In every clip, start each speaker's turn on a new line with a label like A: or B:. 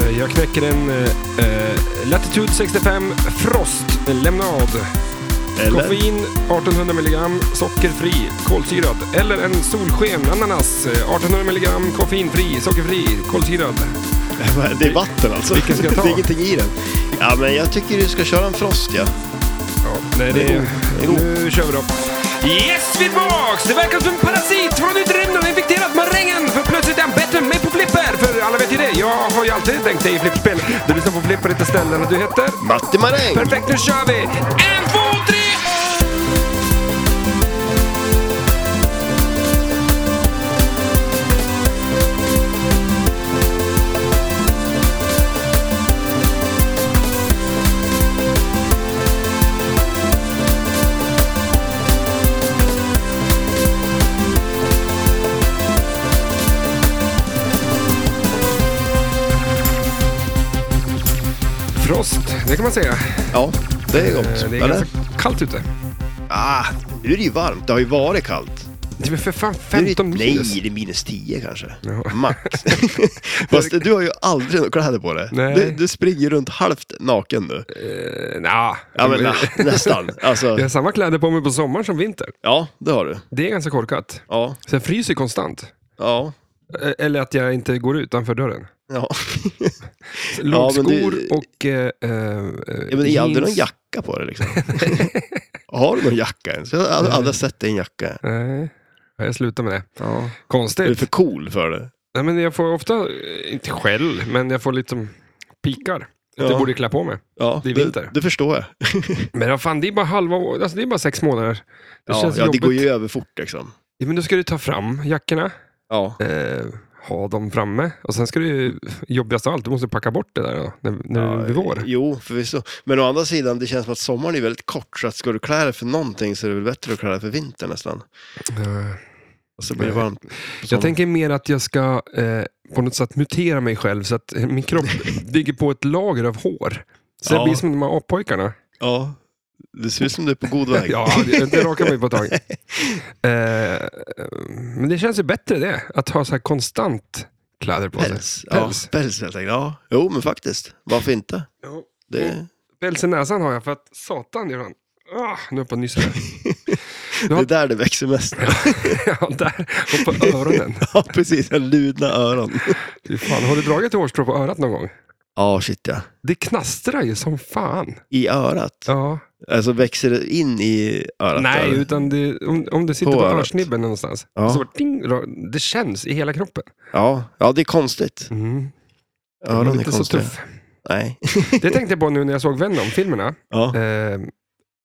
A: Eh, Jag knäcker en eh, Latitude 65 Frost en Lemonad.
B: Eller?
A: Koffein 1800 mg, sockerfri, kolsyrad. Eller en solsken ananas, eh, 1800 mg, koffeinfri, sockerfri, kolsyrad.
B: Det är vatten alltså.
A: Vilken ska jag ta?
B: Det är ingenting i den. Ja, men jag tycker du ska köra en Frost, ja.
A: Ja, nej,
B: Det är
A: det,
B: god. Det är god.
A: nu kör vi då. Yes, vi är tillbaks! Det verkar som en parasit från utrymden och infekterat marängen. För plötsligt är han bättre än mig på flipper. För alla vet ju det, jag har ju alltid tänkt dig i flipperspel. Du lyssnar på flipper inte ställen och du heter?
B: Matti Maräng!
A: Perfekt, nu kör vi! En, två, tre! Frost, det kan man säga.
B: Ja, det är gott.
A: Eh, Det är
B: eller?
A: ganska kallt ute.
B: Ah, nu är det ju varmt. Det har ju varit kallt.
A: Det är för fan
B: Nu är det,
A: 15 minus.
B: nej, det är minus 10 kanske.
A: Ja.
B: Max. Fast du har ju aldrig några kläder på dig.
A: Nej.
B: Du, du springer runt halvt naken nu.
A: Eh, nja.
B: Ja, men ah, nästan. Alltså,
A: Jag har samma kläder på mig på sommaren som vinter.
B: ja, det har du.
A: Det är ganska korkat.
B: Ja,
A: Så jag fryser konstant.
B: ja,
A: Eh, Eller att jag inte går utanför dörren.
B: ja. Ja, men
A: Lågskor
B: du-
A: och eh, eh,
B: ja men har du någon
A: jeans.
B: jacka på dig liksom? har du någon jacka ens? Jag har aldrig- aldrig sett dig i en jacka.
A: Nej, Ja, jag slutar med det.
B: Ja. Du är
A: Konstigt.
B: för cool för det.
A: Nej, men jag får ofta, eh, inte skäll, men jag får liksom pikar.
B: Ja.
A: Att jag borde klä på mig.
B: Ja,
A: Det är
B: Det,
A: vinter.
B: det förstår jag.
A: Men vad fan, det är bara halva år, alltså det är bara sex månader. Det
B: ja,
A: känns
B: ja, det
A: jobbigt.
B: går ju över fort liksom.
A: Ja, men då ska du ta fram jackorna,
B: Ja,
A: eh, ha dem framme och sen ska du, jobbigast av allt, du måste packa bort det där då, när, när
B: ja
A: Eh, det blir vår.
B: Jo, förvisso. Men å andra sidan, det känns som att sommaren är väldigt kort. Så att ska du klä dig för någonting så är det väl bättre att klä dig för vintern nästan.
A: Eh,
B: Och så blir det
A: Nej.
B: varmt. på sommaren.
A: Jag tänker mer att jag ska eh, på något sätt mutera mig själv så att eh, min kropp bygger på ett lager av hår. Så
B: Ja.
A: jag blir som de här apojkarna.
B: Ja, det ser ut som du är på god väg.
A: Ja, det, det rakar mig på ett tag. Eh, men det känns ju bättre det, att ha så här konstant kläder på sig.
B: Päls.
A: Päls.
B: Ja, päls helt enkelt. Ja. Jo, men faktiskt. Varför inte?
A: Ja.
B: Det,
A: Päls i näsan har jag för att satan gör han. Ah, nu är jag på nyss
B: det
A: Ja.
B: är där det växer mest.
A: Ja, där. Och på öronen.
B: Ja, precis. En ludna öron.
A: Fy fan, har du dragit ett hårstrå på örat någon gång?
B: Ja, shit ja.
A: Det knastrar ju som fan.
B: I örat?
A: Ja.
B: Alltså växer det in i örat?
A: Nej,
B: eller?
A: utan det, om, om det sitter
B: På
A: på,
B: örat.
A: örsnibben någonstans.
B: Ja.
A: Så bara ding, ra- det känns i hela kroppen.
B: Ja, ja, det är konstigt.
A: Mm.
B: Öron är
A: inte så
B: konstiga.
A: tuff.
B: Nej.
A: Det tänkte jag på nu när jag såg Venom-filmerna.
B: Ja.
A: Eh,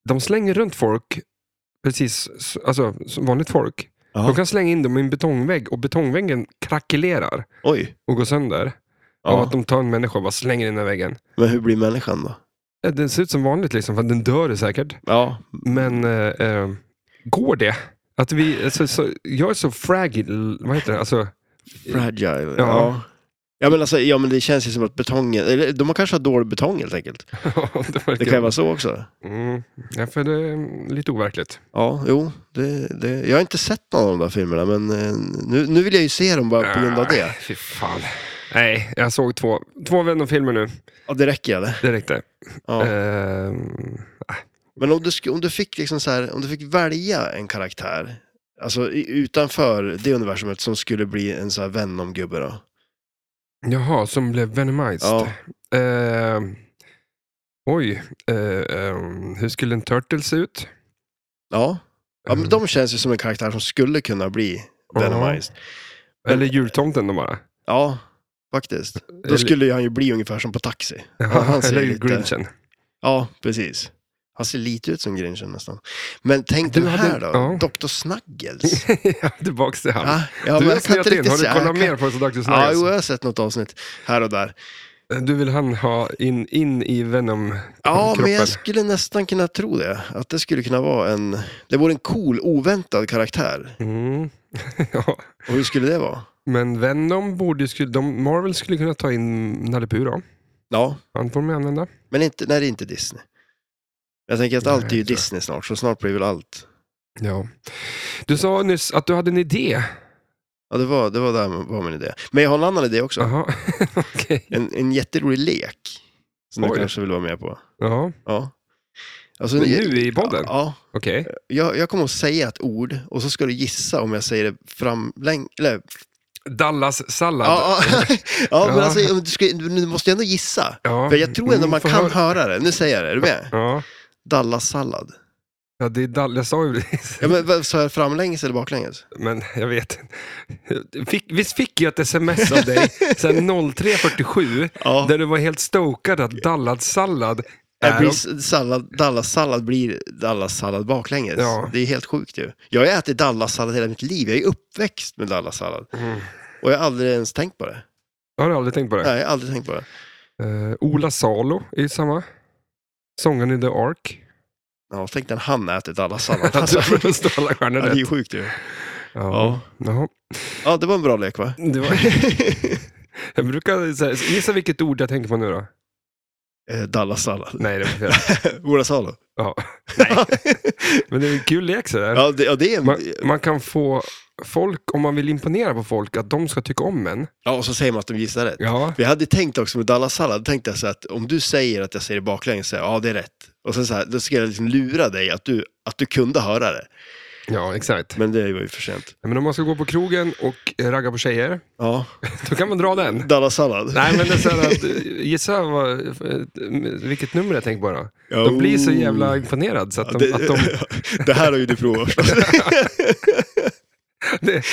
A: de slänger runt folk, precis s- alltså, som vanligt folk.
B: Ja.
A: De kan slänga in dem i en betongvägg och betongväggen krackelerar
B: Oj.
A: och går sönder. Av
B: Ja.
A: att de tar en människa och bara slänger in i den här väggen.
B: Men hur blir människan då?
A: Eh, Den ser ut som vanligt, liksom, för den dör säkert.
B: Ja,
A: Men eh, eh, går det? Att vi, alltså, så, jag är så fragile, vad heter det? Alltså,
B: fragile. Ja.
A: Ja.
B: Ja men, alltså, ja men det känns ju som att betongen, eller de har kanske har dålig betong helt enkelt.
A: Ja, det,
B: Det
A: verkar-
B: kan ju vara så också.
A: Mm. Ja, för det är mm, lite overkligt.
B: Ja, jo. Det, det. Jag har inte sett någon av de där filmerna men eh, nu, nu vill jag ju se dem bara på grund av
A: Ah,
B: det.
A: Fy fan. Nej, jag såg två, två Venom-filmer nu.
B: Ja, det räcker eller?
A: Det räckte.
B: Ja.
A: Ehm,
B: Men om du, sk- om, du fick liksom så här, om du fick välja en karaktär, alltså i- utanför det universumet som skulle bli en så här Venom-gubbe då?
A: jaha, som blev Venomized.
B: Ja.
A: Ehm, oj, eh, ehm, hur skulle en Turtle se ut?
B: Ja. ja men de känns ju som en karaktär som skulle kunna bli
A: Mm. Ja.
B: Venomized.
A: Eller jultomten då bara.
B: Ja, faktiskt. Då
A: Eller-
B: skulle ju han ju bli ungefär som på Taxi. han ser
A: Eller
B: lite-
A: Grinchen.
B: Ja, precis. Han ser lite ut som Grinchen nästan. Men tänk
A: Du
B: den
A: hade-
B: här då,
A: ja.
B: Dr. Snuggles.
A: ja, tillbaks till han.
B: Ja, ja,
A: du
B: men
A: har
B: jag kan inte
A: snöat in,
B: riktigt
A: har du
B: säga.
A: kollat
B: Jag kan-
A: mer på Dr.
B: Ja, jo,
A: Snuggles?
B: jag har sett något avsnitt här och där.
A: du vill han ha in, in i Venom-kroppen?
B: Ja, men jag skulle nästan kunna tro det. Att det skulle kunna vara en... Det vore en cool, oväntad karaktär.
A: mm. ja.
B: Och hur skulle det vara?
A: Men Venom borde ju, skulle- de, Marvel skulle kunna ta in Nalle Puh då.
B: Ja,
A: Han får man ju använda.
B: men inte, nej, det är inte Disney. Jag tänker att allt är ju
A: Nej, så.
B: Disney snart, så snart blir väl allt.
A: Ja. Du sa nyss att du hade en idé
B: Ja, det var, det var där var min idé. Men jag har en annan idé också.
A: Jaha, okej.
B: En, en jätterolig lek. Som
A: Oj.
B: du kanske vill vara med på.
A: Jaha.
B: Ja. Alltså,
A: Nu i podden?
B: Ja,
A: Okej.
B: jag, jag kommer att säga ett ord och så ska du gissa om jag säger det fram... Läng, eller,
A: Dallas sallad.
B: ja, ja, ja, men
A: Ja.
B: alltså, om du, ska, du måste ju ändå gissa.
A: Ja.
B: För jag tror ändå
A: Mm,
B: man
A: får
B: kan
A: höra.
B: höra det. Nu säger jag det, är du med?
A: Ja.
B: Dallas-sallad.
A: ja, det är Dallas. Jag sa ju det.
B: Ja, men vad- sa jag framlänges eller baklänges?
A: Men jag vet inte. fick, Visst fick jag ett sms av dig sen 03.47
B: Ja.
A: där du var helt stokad att Dallas-sallad
B: Äh,
A: är...
B: blir s- sallad, Dallas-sallad blir Dallas-sallad baklänges.
A: Ja.
B: Det är helt sjukt ju. Jag har ätit Dallas-sallad hela mitt liv. Jag är uppväxt med Dallas-sallad.
A: Mm.
B: Och jag har aldrig ens tänkt på det.
A: Har du aldrig tänkt på det?
B: Nej, jag har aldrig tänkt på det.
A: Eh, Ola Salo är ju samma. Sången i The Ark.
B: Ja, tänk när han äter Dallas-sallad.
A: Alltså,
B: Alltså,
A: alltså, Stålarstjärnor
B: det är
A: rätt.
B: ju sjukt ju.
A: Ja. Jaha.
B: Ja, det var en bra lek va?
A: Det var... Jag brukar så här, gissa vilket ord jag tänker på nu då.
B: Eh, Dallas-sallad.
A: Nej, det var fel.
B: Ola Salo.
A: Ja.
B: Nej.
A: Men det är en kul lek sådär.
B: ja, det, ja, det är en...
A: Man, man kan få folk, om man vill imponera på folk, att de ska tycka om en.
B: Ja, och så säger man att de gissar rätt.
A: Ja.
B: Vi hade tänkt också med Dallas-sallad, tänkte jag så att om du säger att jag säger det baklänges, så säger jag, ja det är rätt. Och sen så här, då ska jag liksom lura dig att du, att du kunde höra det.
A: Ja, exakt.
B: Men det var ju för sent.
A: Men om man ska gå på krogen och eh, ragga på tjejer,
B: Ja,
A: då kan man dra den.
B: Dallas-sallad.
A: Nej, men det är så här att eh, gissa vad, eh, vilket nummer jag tänker på då.
B: Ja,
A: De blir så
B: oh.
A: jävla imponerade så att
B: Ja,
A: de... Att de
B: det, det här har ju du provat.
A: det,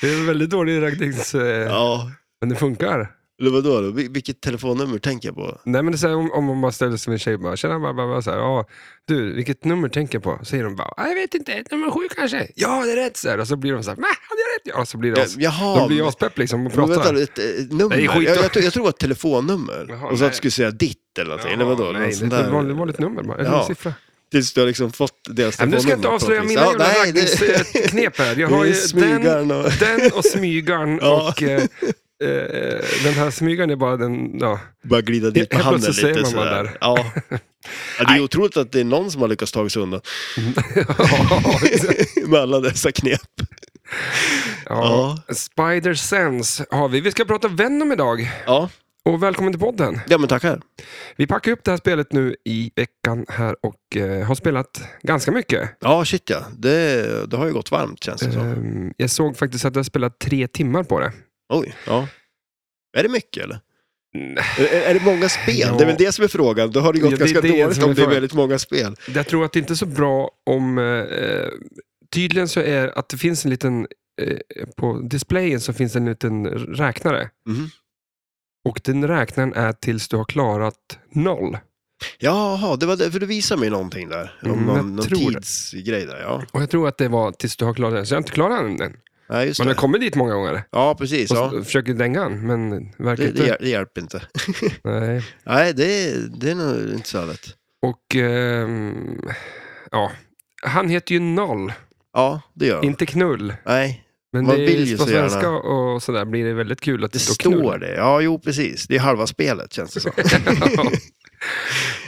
A: det är en väldigt dålig raggdings... eh,
B: ja,
A: Men det funkar.
B: eller vadå då? Vil- Vilket telefonnummer tänker jag på?
A: Nej men det är så här, om, om man bara ställer sig med en tjej och bara, tjena, bara, bara, bara så här, ja, du, vilket nummer tänker jag på? Säger de bara, "Ah, jag vet inte, nummer sju kanske? Ja, det är rätt! Så här, och så blir de så här, "Va? hade jag rätt? Ja, och så blir de,
B: Ja, Jaha,
A: de blir aspepp liksom och
B: men vänta,
A: pratar.
B: ett, ett nummer?
A: Nej, skit.
B: jag, jag, tror- jag tror det var ett telefonnummer.
A: Jaha,
B: och så att
A: nej.
B: du skulle säga ditt eller någonting, eller vadå?
A: Nej,
B: Någon
A: det
B: sån
A: är ett
B: där-
A: vanligt, vanligt nummer bara, eller
B: Ja.
A: en siffra.
B: Tills du har liksom fått deras
A: Nej, men
B: telefonnummer.
A: nu ska jag inte
B: på
A: avslöja
B: något vis.
A: mina
B: Ja,
A: jävla
B: nej, det-
A: raggningsknep här. Jag
B: det
A: har
B: är
A: ju den,
B: smygaren och-
A: den och smygaren
B: Ja.
A: och eh, eh, den här smygaren är bara den, ja.
B: Bara glida dit med
A: Helt
B: handen
A: plötsligt
B: lite
A: säger man
B: sådär.
A: bara där.
B: Ja. ja, det är otroligt att det är någon som har lyckats ta sig undan med alla dessa knep.
A: ja. Spider Sense har vi. Vi ska prata Venom idag.
B: Ja,
A: Och välkommen till podden.
B: ja men tackar.
A: Vi packar upp det här spelet nu i veckan här och eh, har spelat ganska mycket.
B: Ja, shit ja. Det, det har ju gått varmt känns det som.
A: Ehm, jag såg faktiskt att jag har spelat tre timmar på det.
B: Oj, ja. Är det mycket eller?
A: Mm,
B: Är, är det många spel?
A: Ja.
B: Det är väl det som är frågan. Då har det gått
A: Ja, det är
B: ganska
A: det som
B: dåligt
A: är
B: om det är
A: frågan.
B: väldigt många spel.
A: Jag tror att det inte är så bra om... Eh, tydligen så är att det finns en liten... Eh, på displayen så finns det en liten räknare.
B: Mhm.
A: Och den räknaren är tills du har klarat noll.
B: Jaha, det var det, för du visade mig någonting där. Om
A: Mm, jag
B: någon, någon
A: tror det.
B: tidsgrej där, ja.
A: Och jag tror att det var tills du har klarat den. Så jag har inte klarat den än.
B: ja just
A: Man har
B: det.
A: kommit dit många gånger.
B: Ja, precis.
A: Och
B: Ja.
A: så försöker dänga den, men verkar
B: Det,
A: inte...
B: det, hjäl- det hjälper inte.
A: Nej.
B: Nej, det, det är nog inte så lätt.
A: Och ehm, ja, han heter ju Noll,
B: Ja, det gör det.
A: inte Knull.
B: Nej,
A: Men
B: Man
A: det är,
B: vill ju
A: på
B: så gärna.
A: svenska och sådär blir det väldigt kul att
B: Det
A: knull.
B: står det. Ja, jo precis. Det är halva spelet känns det som.
A: Ja.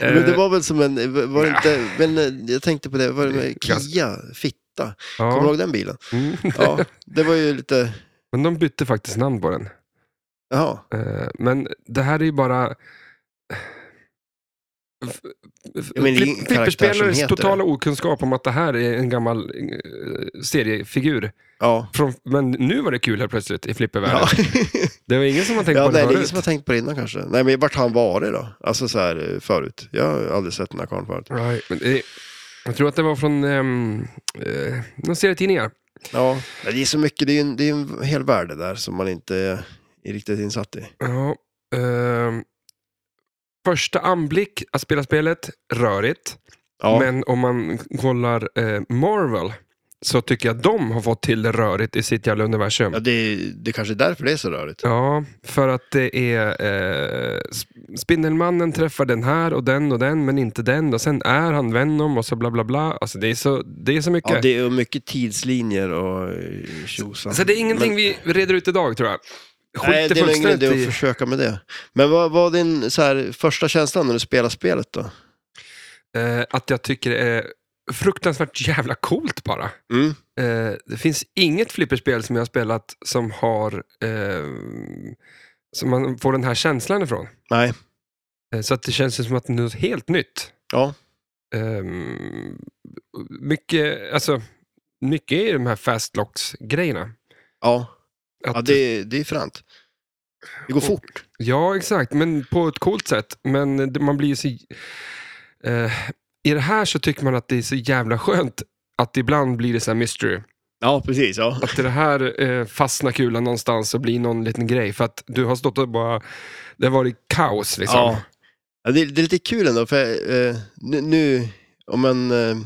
B: men det
A: Eh,
B: var väl som en, var det
A: nja.
B: inte, men eh, jag tänkte på det, var det med
A: Ganska-
B: Kia, fitta? Kommer du
A: ja.
B: ihåg den bilen?
A: Mm.
B: Ja, det var ju lite,
A: Men de bytte faktiskt namn på den.
B: jaha.
A: Eh, Men det här är ju bara... F- f-
B: Ja, men det är ingen
A: flipp-
B: karaktär som
A: Flipperspelares
B: heter
A: totala okunskap om att det här är en gammal eh, seriefigur.
B: Ja.
A: Från, men nu var det kul här plötsligt i flippervärlden.
B: Ja,
A: Det var ingen som har tänkt
B: ja
A: på det
B: nej, det är ingen
A: förut.
B: som har tänkt på det innan kanske. Nej, men vart har han varit då? Alltså så här eh, förut. Jag har aldrig sett den här karln förut.
A: Nej, men det, jag tror att det var från um, uh, någon serietidningar.
B: Ja, men det är så mycket, det är ju en, det är ju en hel värld det där som man inte är riktigt insatt i.
A: Ja, ehm, första anblick att spela spelet, rörigt.
B: Ja,
A: Men om man kollar eh, Marvel så tycker jag de har fått till det rörigt i sitt jävla universum.
B: ja det, är- det är kanske är därför det är så rörigt.
A: Ja, för att det är... Eh, sp- Spindelmannen träffar den här och den och den, men inte den. Och sen är han Venom och så bla bla bla. Alltså det är så, det är så mycket.
B: Ja, det är mycket tidslinjer och eh, tjosan.
A: Så Alltså, det är ingenting
B: Men-
A: vi reder ut idag tror jag. Skit
B: Nej, det är nog ingen
A: fullständigt
B: idé att
A: i-
B: försöka med det. Men vad var din så här, första känsla när du spelade spelet då?
A: eh, att jag tycker det är fruktansvärt jävla coolt bara.
B: Mm.
A: Eh, det finns inget flipperspel som jag har spelat som har eh, som man får den här känslan ifrån.
B: Nej.
A: Eh, Så att det känns ju som att det är något helt nytt.
B: Ja.
A: Ehm, mycket, alltså, mycket är de här fast locks-grejerna.
B: Ja,
A: Att-
B: ja det, det är fränt. Det går
A: Och-
B: fort.
A: ja, exakt. Men på ett coolt sätt. Men det- man blir ju så... eh, I det här så tycker man att det är så jävla skönt att ibland blir det så här mystery.
B: Ja, precis. Ja.
A: Att det här eh, fastnar kulan någonstans och blir någon liten grej. För att du har stått och bara... Det har varit kaos liksom.
B: Ja. Ja, det, det är lite kul ändå, för eh, nu, nu om man... Eh,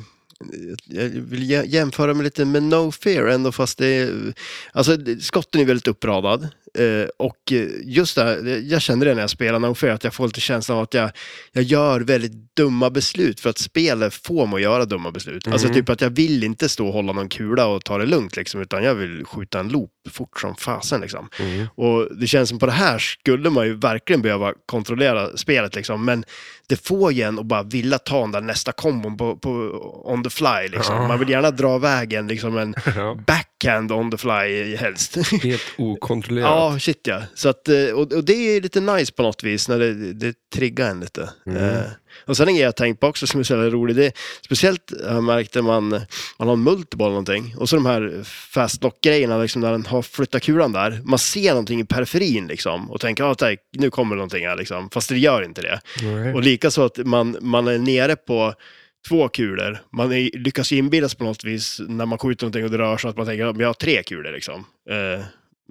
B: jag vill jä- jämföra med lite med No Fear ändå fast det är, alltså det- skotten är väldigt uppradad eh, och eh, just det här, det- jag känner det när jag spelar No Fear att jag får lite känslan av att jag, jag gör väldigt dumma beslut för att spelet får mig att göra dumma beslut. Alltså
A: Mhm.
B: typ att jag vill inte stå och hålla någon kula och ta det lugnt liksom utan jag vill skjuta en loop fort som fasen liksom.
A: Mm.
B: Och det känns som på det här skulle man ju verkligen behöva kontrollera spelet liksom. Men det får ju en att bara vilja ta den där nästa kombon på, på on the fly liksom.
A: Ja.
B: Man vill gärna dra vägen liksom en
A: Ja.
B: backhand on the fly helst.
A: Helt okontrollerat.
B: ja, shit ja. Så att, eh, och, och det är lite nice på något vis när det, det triggar en lite.
A: Mm.
B: Eh, Och sen en grej jag tänkt på också som är så jävla rolig, det är speciellt har jag märkt när man, eh, man har en multiball eller någonting och så de här fast lock-grejerna liksom när den har flyttat kulan där. Man ser någonting i periferin liksom och tänker att ah, nu kommer någonting här liksom, fast det gör inte det.
A: Nej.
B: Och likaså att man, man är nere på två kulor. Man är, lyckas inbillas på något vis när man skjuter någonting och det rör sig att man tänker att jag har tre kulor liksom. Eh,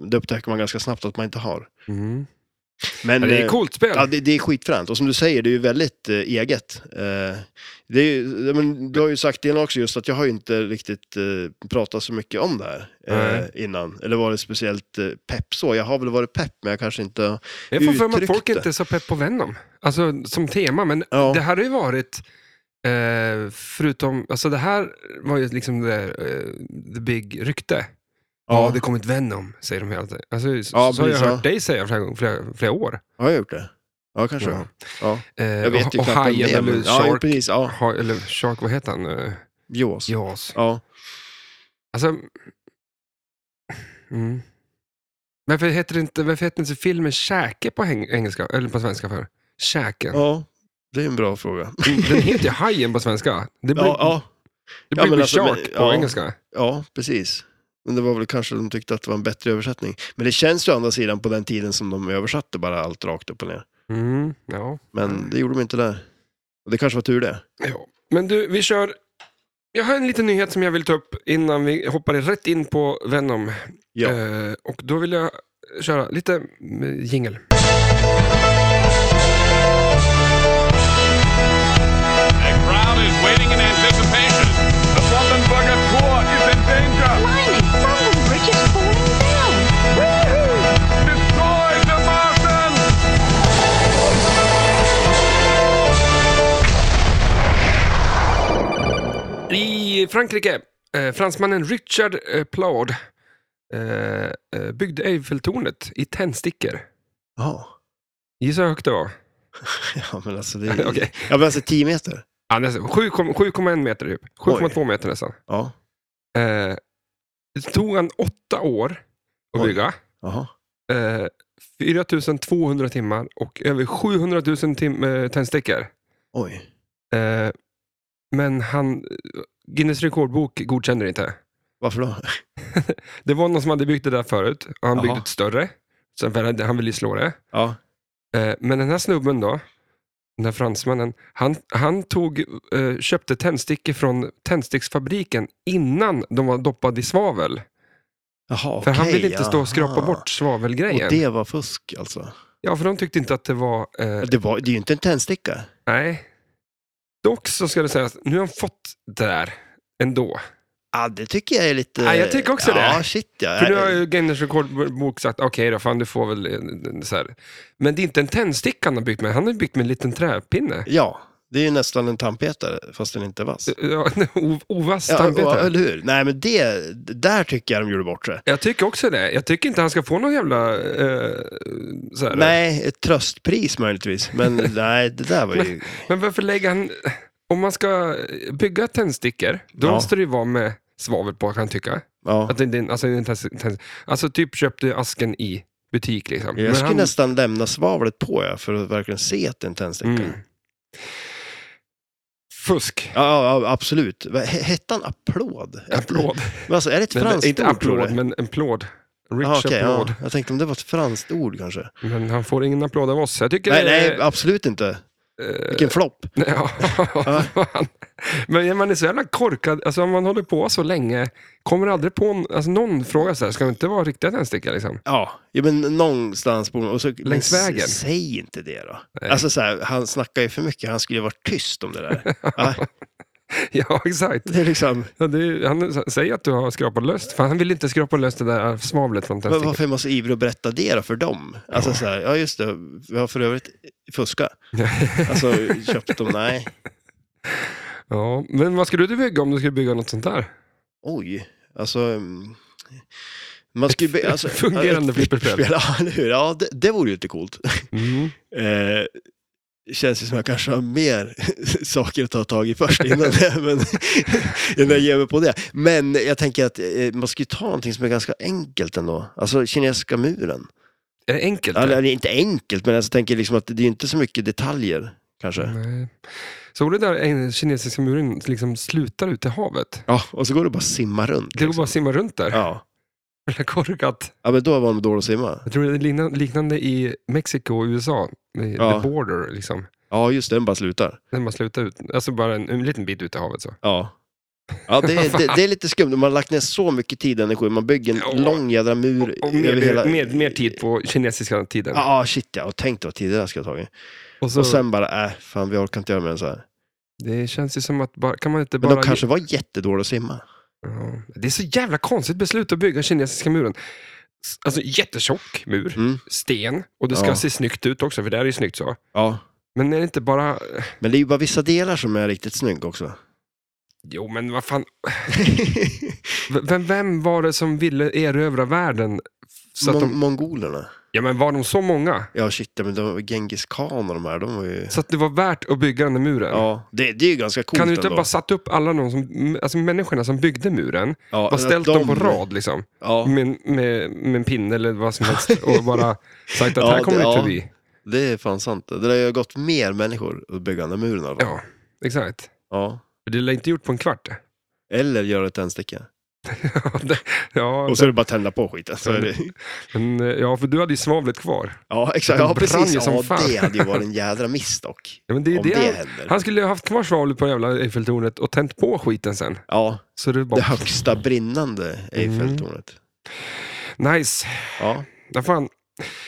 B: det upptäcker man ganska snabbt att man inte har.
A: Mm.
B: Men,
A: Ja, det är
B: eh,
A: ett coolt spel.
B: Ja, det, det är skitfränt. Och som du säger, det är ju väldigt eh, eget. Eh, det är, ju- ja, men, du har ju sagt innan också just att jag har ju inte riktigt eh, pratat så mycket om det här
A: Nej.
B: eh, innan. Eller varit speciellt eh, pepp så. Jag har väl varit pepp, men jag kanske inte...
A: jag får för mig att
B: uttryckte.
A: folk inte är så pepp på Venom. Alltså som tema, men
B: Ja.
A: det här har ju varit, eh, förutom, alltså det här var ju liksom the, the big rykte. Ja, det kommer ett Venom, säger de hela tiden. Alltså, så,
B: Ja,
A: så har jag
B: precis, ja.
A: hört dig säga flera, flera, flera år.
B: Har jag gjort det? Ja, kanske. Ja.
A: Eh,
B: Jag vet ju
A: och, och
B: knappt vem det
A: Hajen
B: är, men-
A: eller
B: Ja, jo,
A: Shark,
B: precis. Ja,
A: ha, eller Shark, vad heter han? Eh,
B: Jaws.
A: Jaws.
B: Ja.
A: Alltså, mm. Varför heter det inte, varför heter inte filmen Käke på häng- engelska, eller på svenska för? Käken.
B: ja, det är en bra fråga.
A: Den den heter ju Hajen på svenska. Det blir,
B: Ja, ja,
A: det
B: ja,
A: blir
B: men
A: Big
B: alltså,
A: Shark
B: men-
A: på
B: ja.
A: engelska.
B: ja, precis. Men det var väl kanske de tyckte att det var en bättre översättning. Men det känns ju å andra sidan på den tiden som de översatte bara allt rakt upp och ner.
A: Mm, ja.
B: Men det gjorde de inte där. Och det kanske var tur det.
A: ja. Men du, vi kör. Jag har en liten nyhet som jag vill ta upp innan vi hoppar rätt in på Venom.
B: Ja.
A: Eh, och då vill jag köra lite eh, jingle.
C: The crowd is waiting in anticipation. The Brandenburger Tor is in danger.
D: Blimey, Brandon Bridge is falling down.
C: Destroy the Martians!
A: I Frankrike, eh, fransmannen Richard eh, Plaud eh, eh, byggde Eiffeltornet i tändstickor.
B: Jaha.
A: Gissa hur högt det var?
B: Ja, men alltså det är...
A: Okej.
B: Ja, men alltså 10 meter.
A: Ja, nästan. 7, 7,1 meter typ. 7,2 meter nästan.
B: Ja.
A: Eh, det tog han åtta år att
B: Oj.
A: bygga.
B: Jaha.
A: Eh, 4 200 timmar och över 700 000 tim- eh, tändstickor.
B: Oj.
A: Eh, men han, eh, Guinness rekordbok godkänner inte.
B: Varför då?
A: Det var någon som hade byggt det där förut och han
B: Jaha.
A: byggde ett större. Sen för han- han ville ju slå det.
B: Ja.
A: Eh, Men den här snubben då, den här fransmannen, han, han tog, eh, köpte tändstickor från tändsticksfabriken innan de var doppade i svavel.
B: Jaha,
A: För han
B: okej,
A: ville inte stå och skrapa
B: aha.
A: bort
B: Och
A: svavelgrejen.
B: det var fusk alltså?
A: Ja, för de tyckte inte att det var... Eh,
B: Det, var, det är ju inte en tändsticka.
A: nej. Dock så ska det sägas, nu har han fått det där ändå.
B: Ja, det tycker jag är lite...
A: Ja, jag tycker också
B: ja,
A: det.
B: Ja, shit ja.
A: För nu har ju Guinness rekordbok sagt, okej då, fan du får väl... eh, eh, Så här. Men det är inte en tändsticka han har byggt med, han har byggt med en liten träpinne.
B: Ja, det är ju nästan en tandpetare fast den inte är vass.
A: Ja, o- Ovass
B: Ja, och,
A: Eh, tandpetare.
B: eller hur? Nej, men det... Där tycker jag de gjorde bort sig.
A: Jag tycker också det. Jag tycker inte han ska få någon jävla... Eh, så här.
B: Nej, ett tröstpris möjligtvis. Men nej, det där var ju...
A: Men varför lägger han... Om man ska bygga tändstickor, då
B: Ja.
A: måste det ju vara med svavel på kan jag tycka.
B: Ja.
A: Att det, det, alltså, det är en tens, tens, alltså typ köpte asken i butik liksom. Men
B: Jag skulle
A: han-
B: nästan lämna svavlet på jag för att verkligen se att det är en tändsticka.
A: Mm. Fusk.
B: Ja, ja, absolut. Va- he- Hette han applåd?
A: Applåd.
B: Men alltså, är det ett
A: Nej, men
B: franskt
A: inte
B: ord? tror
A: applåd,
B: du?
A: men en plåd. Rich
B: Jaha, Ah, okej,
A: applåd.
B: ja. Jag tänkte om det var ett franskt ord kanske.
A: Men han får ingen applåd av oss. Jag tycker...
B: Nej,
A: det är- eh,
B: nej, absolut inte. Vilken flopp.
A: Ja, fan. Men man är så jävla korkad. Alltså om man håller på så länge, kommer aldrig på n- alltså, någon fråga så här, ska det inte vara riktiga tändstickor liksom?
B: Ja, ja men någonstans borde man- och så,
A: Längs
B: men s-
A: vägen.
B: Säg inte det då.
A: Nej.
B: Alltså så här, han snackar ju för mycket, han skulle ju varit tyst om det där. ja,
A: Ja, exakt.
B: det är liksom,
A: Ja, det är, han s- säger att du har skrapat löst. Fan, han vill inte skrapa löst det där svavlet från
B: men
A: tändstickan.
B: varför är man så ivrig att berätta det då för dem? Alltså så här, ja just det, vi har för övrigt fuskat. Alltså köpt dem, nej.
A: Ja, men vad skulle du bygga om du skulle bygga något sånt där?
B: Oj, alltså... mm, Man skulle be, alltså,
A: Fungerande flipperspel.
B: Ja, eller hur? Ja, det, det vore ju inte coolt.
A: Mm.
B: Eh, känns ju som jag kanske har mer saker att ta tag i först innan, det, men, innan jag ger mig på det. Men jag tänker att eh, man ska ju ta någonting som är ganska enkelt ändå. Alltså kinesiska muren.
A: Är det enkelt?
B: Eller
A: eller?
B: det är inte enkelt, men jag tänker liksom att det är inte så mycket detaljer kanske.
A: Nej. Så det där en- kinesiska muren liksom slutar ut i havet.
B: Ja, och så går det bara att simma runt.
A: Det går
B: liksom.
A: bara att simma runt där.
B: Ja.
A: Jävla Korkat.
B: ja, men då var man dålig att simma.
A: Jag tror det är likna- liknande i Mexiko och USA. med
B: Ja.
A: The border liksom.
B: Ja, just det, den bara slutar.
A: När man slutar ut, alltså bara en, en liten bit ut i havet så.
B: Ja. Ja, det är, det, det är lite skumt. Man har lagt ner så mycket tid och energi. Man bygger en
A: Ja.
B: lång jädra mur
A: Och mer,
B: över hela...
A: mer, mer tid på kinesiska tiden.
B: Ja, ah, shit ja. Och tänk dig vad tid det där ska ha tagit.
A: och så,
B: Och sen bara, äh, fan vi orkar inte göra mer än så här.
A: det känns ju som att, bara, kan man inte
B: Men
A: bara...
B: de kanske var jättedåliga att simma.
A: ja, det är så jävla konstigt beslut att bygga kinesiska muren. S- Alltså jättetjock mur,
B: Mm.
A: sten, och det ska
B: Ja.
A: se snyggt ut också, för det här är ju snyggt så.
B: Ja.
A: Men är det inte bara...
B: Men det är ju bara vissa delar som är riktigt snygga också.
A: Jo, men vad fan. V- Vem, vem var det som ville erövra världen? Så att
B: Mon-
A: de,
B: Mongolerna.
A: ja, men var de så många?
B: Ja, shit ja, men de var Genghis khan och de här, de var ju...
A: Så att det var värt att bygga den där muren?
B: Ja, det, det är ju ganska coolt
A: Kan du inte
B: ändå.
A: bara satt upp alla de som, m- alltså människorna som byggde muren,
B: ja,
A: bara
B: att
A: ställt
B: de-
A: dem på rad liksom,
B: Ja,
A: med, med, med en pinne eller vad som helst och bara sagt att
B: Ja,
A: här kommer
B: det-
A: du
B: ja.
A: inte förbi.
B: det är fan sant. Det där har ju gått mer människor att bygga den där muren i alla fall.
A: Ja, exakt.
B: ja.
A: Det är inte gjort på en kvart.
B: Eller göra ett tändsticka.
A: Ja, det- ja,
B: Och så är det bara att tända på skiten. Så är det...
A: men, eh, ja, för du hade ju svavlet kvar.
B: Ja, exakt.
A: Den
B: Ja,
A: brann ju
B: precis.
A: som
B: Ja,
A: fan.
B: det hade ju varit en jädra miss dock.
A: Ja, men det är ju
B: Om
A: det.
B: det
A: han-
B: händer.
A: Han skulle ju ha haft kvar svavlet på jävla Eiffeltornet och tänt på skiten sen.
B: Ja,
A: Så det
B: det
A: bara,
B: högsta brinnande
A: Mm.
B: Eiffeltornet.
A: nice.
B: Ja.
A: Ja, fan.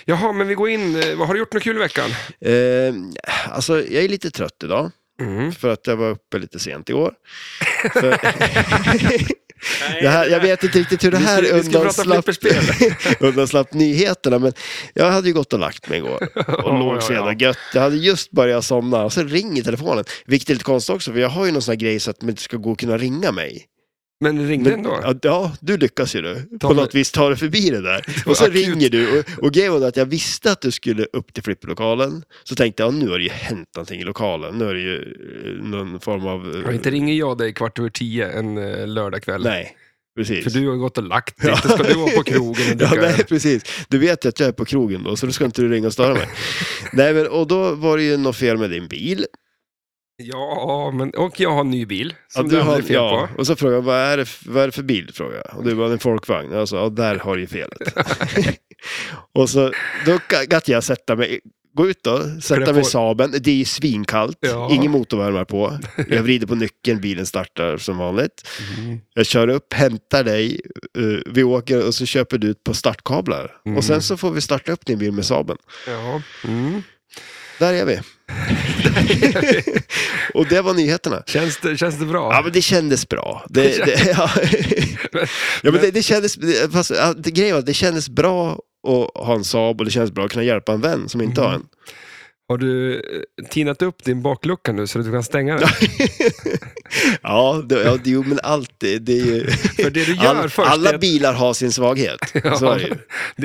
A: Jaha, men vi går in. eh, vad- Har du gjort något kul i veckan?
B: Eh, alltså, jag är lite trött idag
A: Mm.
B: för att jag var uppe lite sent igår. För... Det här, jag vet inte riktigt hur det
A: Vi ska-
B: här
A: vi ska prata
B: undanslapp,
A: flipperspel.
B: undanslapp nyheterna, men jag hade ju gått och lagt mig igår och
A: Ja, ja,
B: låg så jävla
A: ja.
B: gött. Jag hade just börjat somna och så ringer telefonen, vilket är lite konstigt också, för jag har ju någon sån här grej så att man inte ska gå och kunna ringa mig.
A: Men ringde
B: Men, alltså-
A: ändå?
B: ja, ja, du lyckas ju du.
A: Ta
B: På
A: mig-
B: något vis tar du förbi det där.
A: var
B: Och så
A: akut.
B: ringer du. Och, och grejen var att jag visste att du skulle upp till flipplokalen. Så tänkte jag, nu har det ju hänt någonting i lokalen. Nu är det ju eh, någon form av... eh,
A: Ja, inte ringer jag dig kvart över tio en eh, lördagkväll.
B: Nej, precis.
A: För du har ju gått och lagt dig. Inte ska du vara på krogen och
B: Ja,
A: dricka
B: nej,
A: öl.
B: precis. Du vet ju att jag är på krogen då, så då ska inte du ringa och störa mig. nej, men och då var det ju något fel med din bil.
A: Ja, men, och jag har en ny bil. Som
B: Ja,
A: du aldrig är fel
B: ja.
A: på.
B: Och så frågade jag, vad är det, f- vad är det för bil? Frågade jag. Och du var en folkvagn. Och jag sa, ja, där har du ju felet. och så, då kan jag sätta mig, gå ut då,
A: Klä
B: sätta
A: på-
B: mig i Saben. Det är ju svinkallt,
A: Ja.
B: ingen motorvärmare på. Jag vrider på nyckeln, bilen startar som vanligt.
A: Mm.
B: Jag kör upp, hämtar dig, eh, vi åker och så köper du ett par startkablar. Och
A: Mm.
B: sen så får vi starta upp din bil med Saben.
A: Ja. Mm.
B: Där är vi. och det var nyheterna.
A: Känns, det, känns det bra?
B: Ja, men det kändes bra. Det, det, ja. ja, men det, det kändes, det- fast, ja, det, grejen var att det kändes bra att ha en Saab och det kändes bra att kunna hjälpa en vän som inte har
A: Mm.
B: en.
A: Har du eh, tinat upp din baklucka nu så att du kan stänga den?
B: Ja, det, ja, det- jo, men allt det, det är ju...
A: För det du gör
B: All-
A: först
B: alla
A: är att-
B: bilar har sin svaghet. Så är det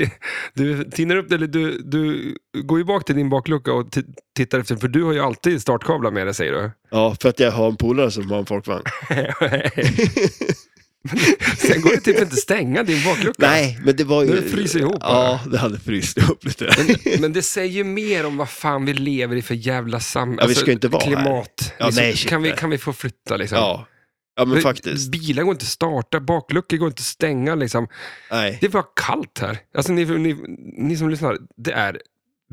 B: ju.
A: det, du tinar upp det, eller du, du går ju bak till din baklucka och ti- tittar efter, för du har ju alltid startkablar med dig säger du.
B: Ja, för att jag har en polare som har en folkvagn.
A: Sen går det typ inte att stänga din baklucka.
B: Nej, men det var ju...
A: Det fryser ihop
B: Ja, det hade fryst ihop lite.
A: Men det säger ju mer om vad fan vi lever i för jävla samhälle.
B: Ja, vi ska ju inte vara här.
A: Klimat.
B: Ja,
A: liksom,
B: nej, shit,
A: kan, vi,
B: nej.
A: kan vi få flytta liksom?
B: ja. ja, men faktiskt.
A: Bilar går inte att starta, bakluckor går inte att stänga. Liksom.
B: Nej.
A: Det är bara kallt här. Alltså, ni, ni, ni som lyssnar, det är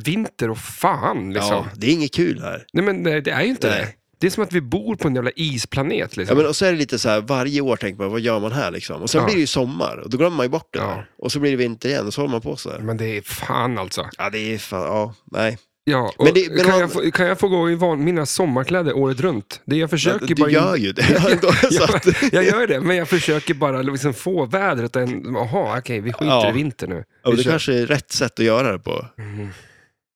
A: vinter och fan. Liksom.
B: Ja, det är inget kul här.
A: Nej, men nej, det är ju inte
B: Nej.
A: det. Det är som att vi bor på en jävla isplanet.
B: Ja,
A: Liksom.
B: men och så är det lite så här, varje år tänker man, vad gör man här liksom? Och sen
A: Ja.
B: blir det ju sommar, och då glömmer man ju bort det
A: Ja.
B: där. Och så blir det vinter igen, och så håller man på så här.
A: Men det är fan alltså.
B: Ja, det är fan, ja, nej.
A: Ja,
B: Men
A: och
B: det- men
A: kan,
B: han-
A: jag få, kan jag få gå i van, mina sommarkläder året runt? Det jag försöker
B: Du
A: bara...
B: gör ju det ändå. så
A: jag,
B: att,
A: jag gör det, men jag försöker bara liksom få vädret att... Jaha, okej, vi skiter
B: Ja.
A: i vinter nu.
B: ja,
A: Vi
B: men det
A: kör.
B: kanske är rätt sätt att göra det på.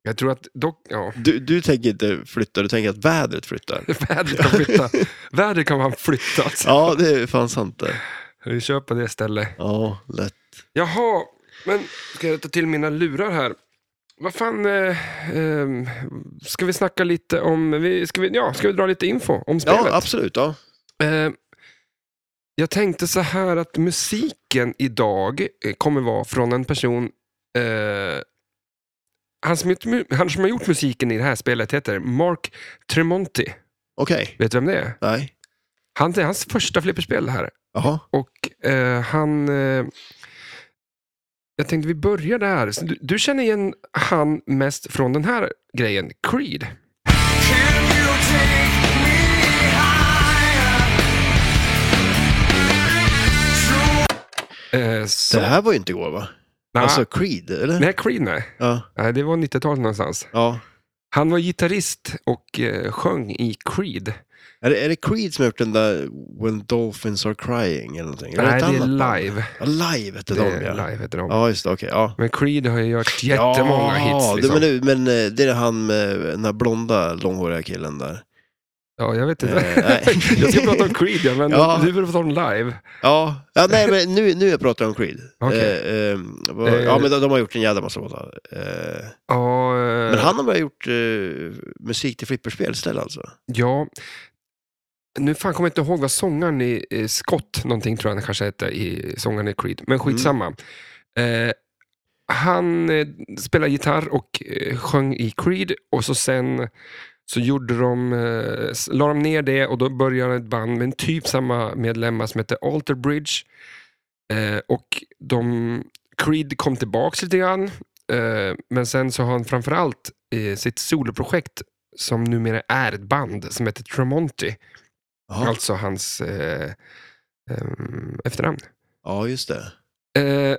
A: Jag tror att dock... Ja,
B: Du, du tänker inte flytta, du tänker att vädret flyttar.
A: vädret kan flytta. vädret kan man flytta. Alltså.
B: Ja, det är fan sant det.
A: Vi kör på det stället.
B: Ja, lätt.
A: Jaha, men ska jag ta till mina lurar här? Vad fan, eh, eh, ska vi snacka lite om, vi, ska, vi, ja, ska vi dra lite info om spelet?
B: Ja, absolut. Ja.
A: Eh, jag tänkte så här att musiken idag eh, kommer vara från en person, eh, han, som, gjort mu- han som har gjort musiken i det här spelet heter Mark Tremonti.
B: Okej.
A: Vet du vem det är?
B: Nej.
A: Han, det är hans första flipperspel det här.
B: Jaha.
A: Och eh, han... Eh, jag tänkte vi börjar där. Så Du, du känner igen han mest från den här grejen, Creed. Eh, så,
B: Det här var ju inte igår, va?
A: nej,
B: Alltså Creed, eller?
A: nej, Creed nej.
B: Ja.
A: nej. Det var 90-talet någonstans.
B: ja.
A: Han var gitarrist och eh, sjöng i Creed.
B: Är, det, är det Creed som har gjort den där When Dolphins Are Crying eller någonting?
A: nej,
B: ett
A: det är
B: annat band?
A: live.
B: Ja, live hette
A: Det
B: de,
A: är
B: ja.
A: live heter de.
B: Ja, just det. Okej, ja.
A: Men Creed har ju gjort jättemånga hits. Liksom.
B: det, men, nu, men eh, det är han med den här blonda, långhåriga killen där.
A: Ja, jag vet inte.
B: Eh, nej.
A: jag ska prata om Creed, ja, men
B: Ja.
A: du vill prata om live.
B: Ja, ja nej men nu, nu jag pratar om Creed.
A: Okej.
B: Eh, ehm, vad-
A: Eh.
B: ja, men de, de har gjort en jävla massa låtar. Eh,
A: Ja, eh,
B: men han har väl gjort eh, musik till flipperspel istället alltså?
A: ja. Nu fan kommer jag inte ihåg vad sångaren i eh, Scott, någonting tror jag han kanske hette, i sångaren i Creed. Men skitsamma. Eh, han eh, spelade gitarr och eh, sjöng i Creed och så sen så gjorde de, eh, s- la de ner det och då började ett band med typ samma medlemmar som hette Alter Bridge. Eh, och de, Creed kom tillbaks lite grann. Eh, men sen så har han framförallt eh, sitt soloprojekt som numera är ett band som heter Tremonti.
B: Jaha.
A: Alltså hans eh, ehm, efternamn.
B: Ja, just det.
A: Eh,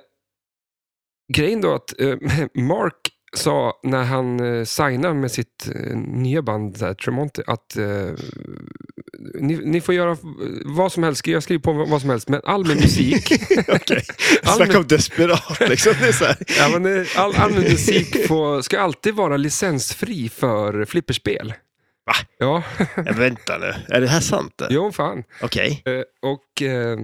A: grejen då att eh, Mark sa när han eh, signade med sitt eh, nya band där, Tremonti att eh, ni, ni får göra vad som helst, jag skriver på vad som helst, men all min musik
B: Okej,
A: Ja,
B: snacka
A: men-
B: om desperat liksom. Det är så här.
A: Ja, men eh, all, all musik får, ska alltid vara licensfri för flipperspel.
B: Va?
A: Ja,
B: Ja, "Eh, vänta nu, är det här sant? det?
A: jo fan.
B: Okej.
A: Eh, Och eh,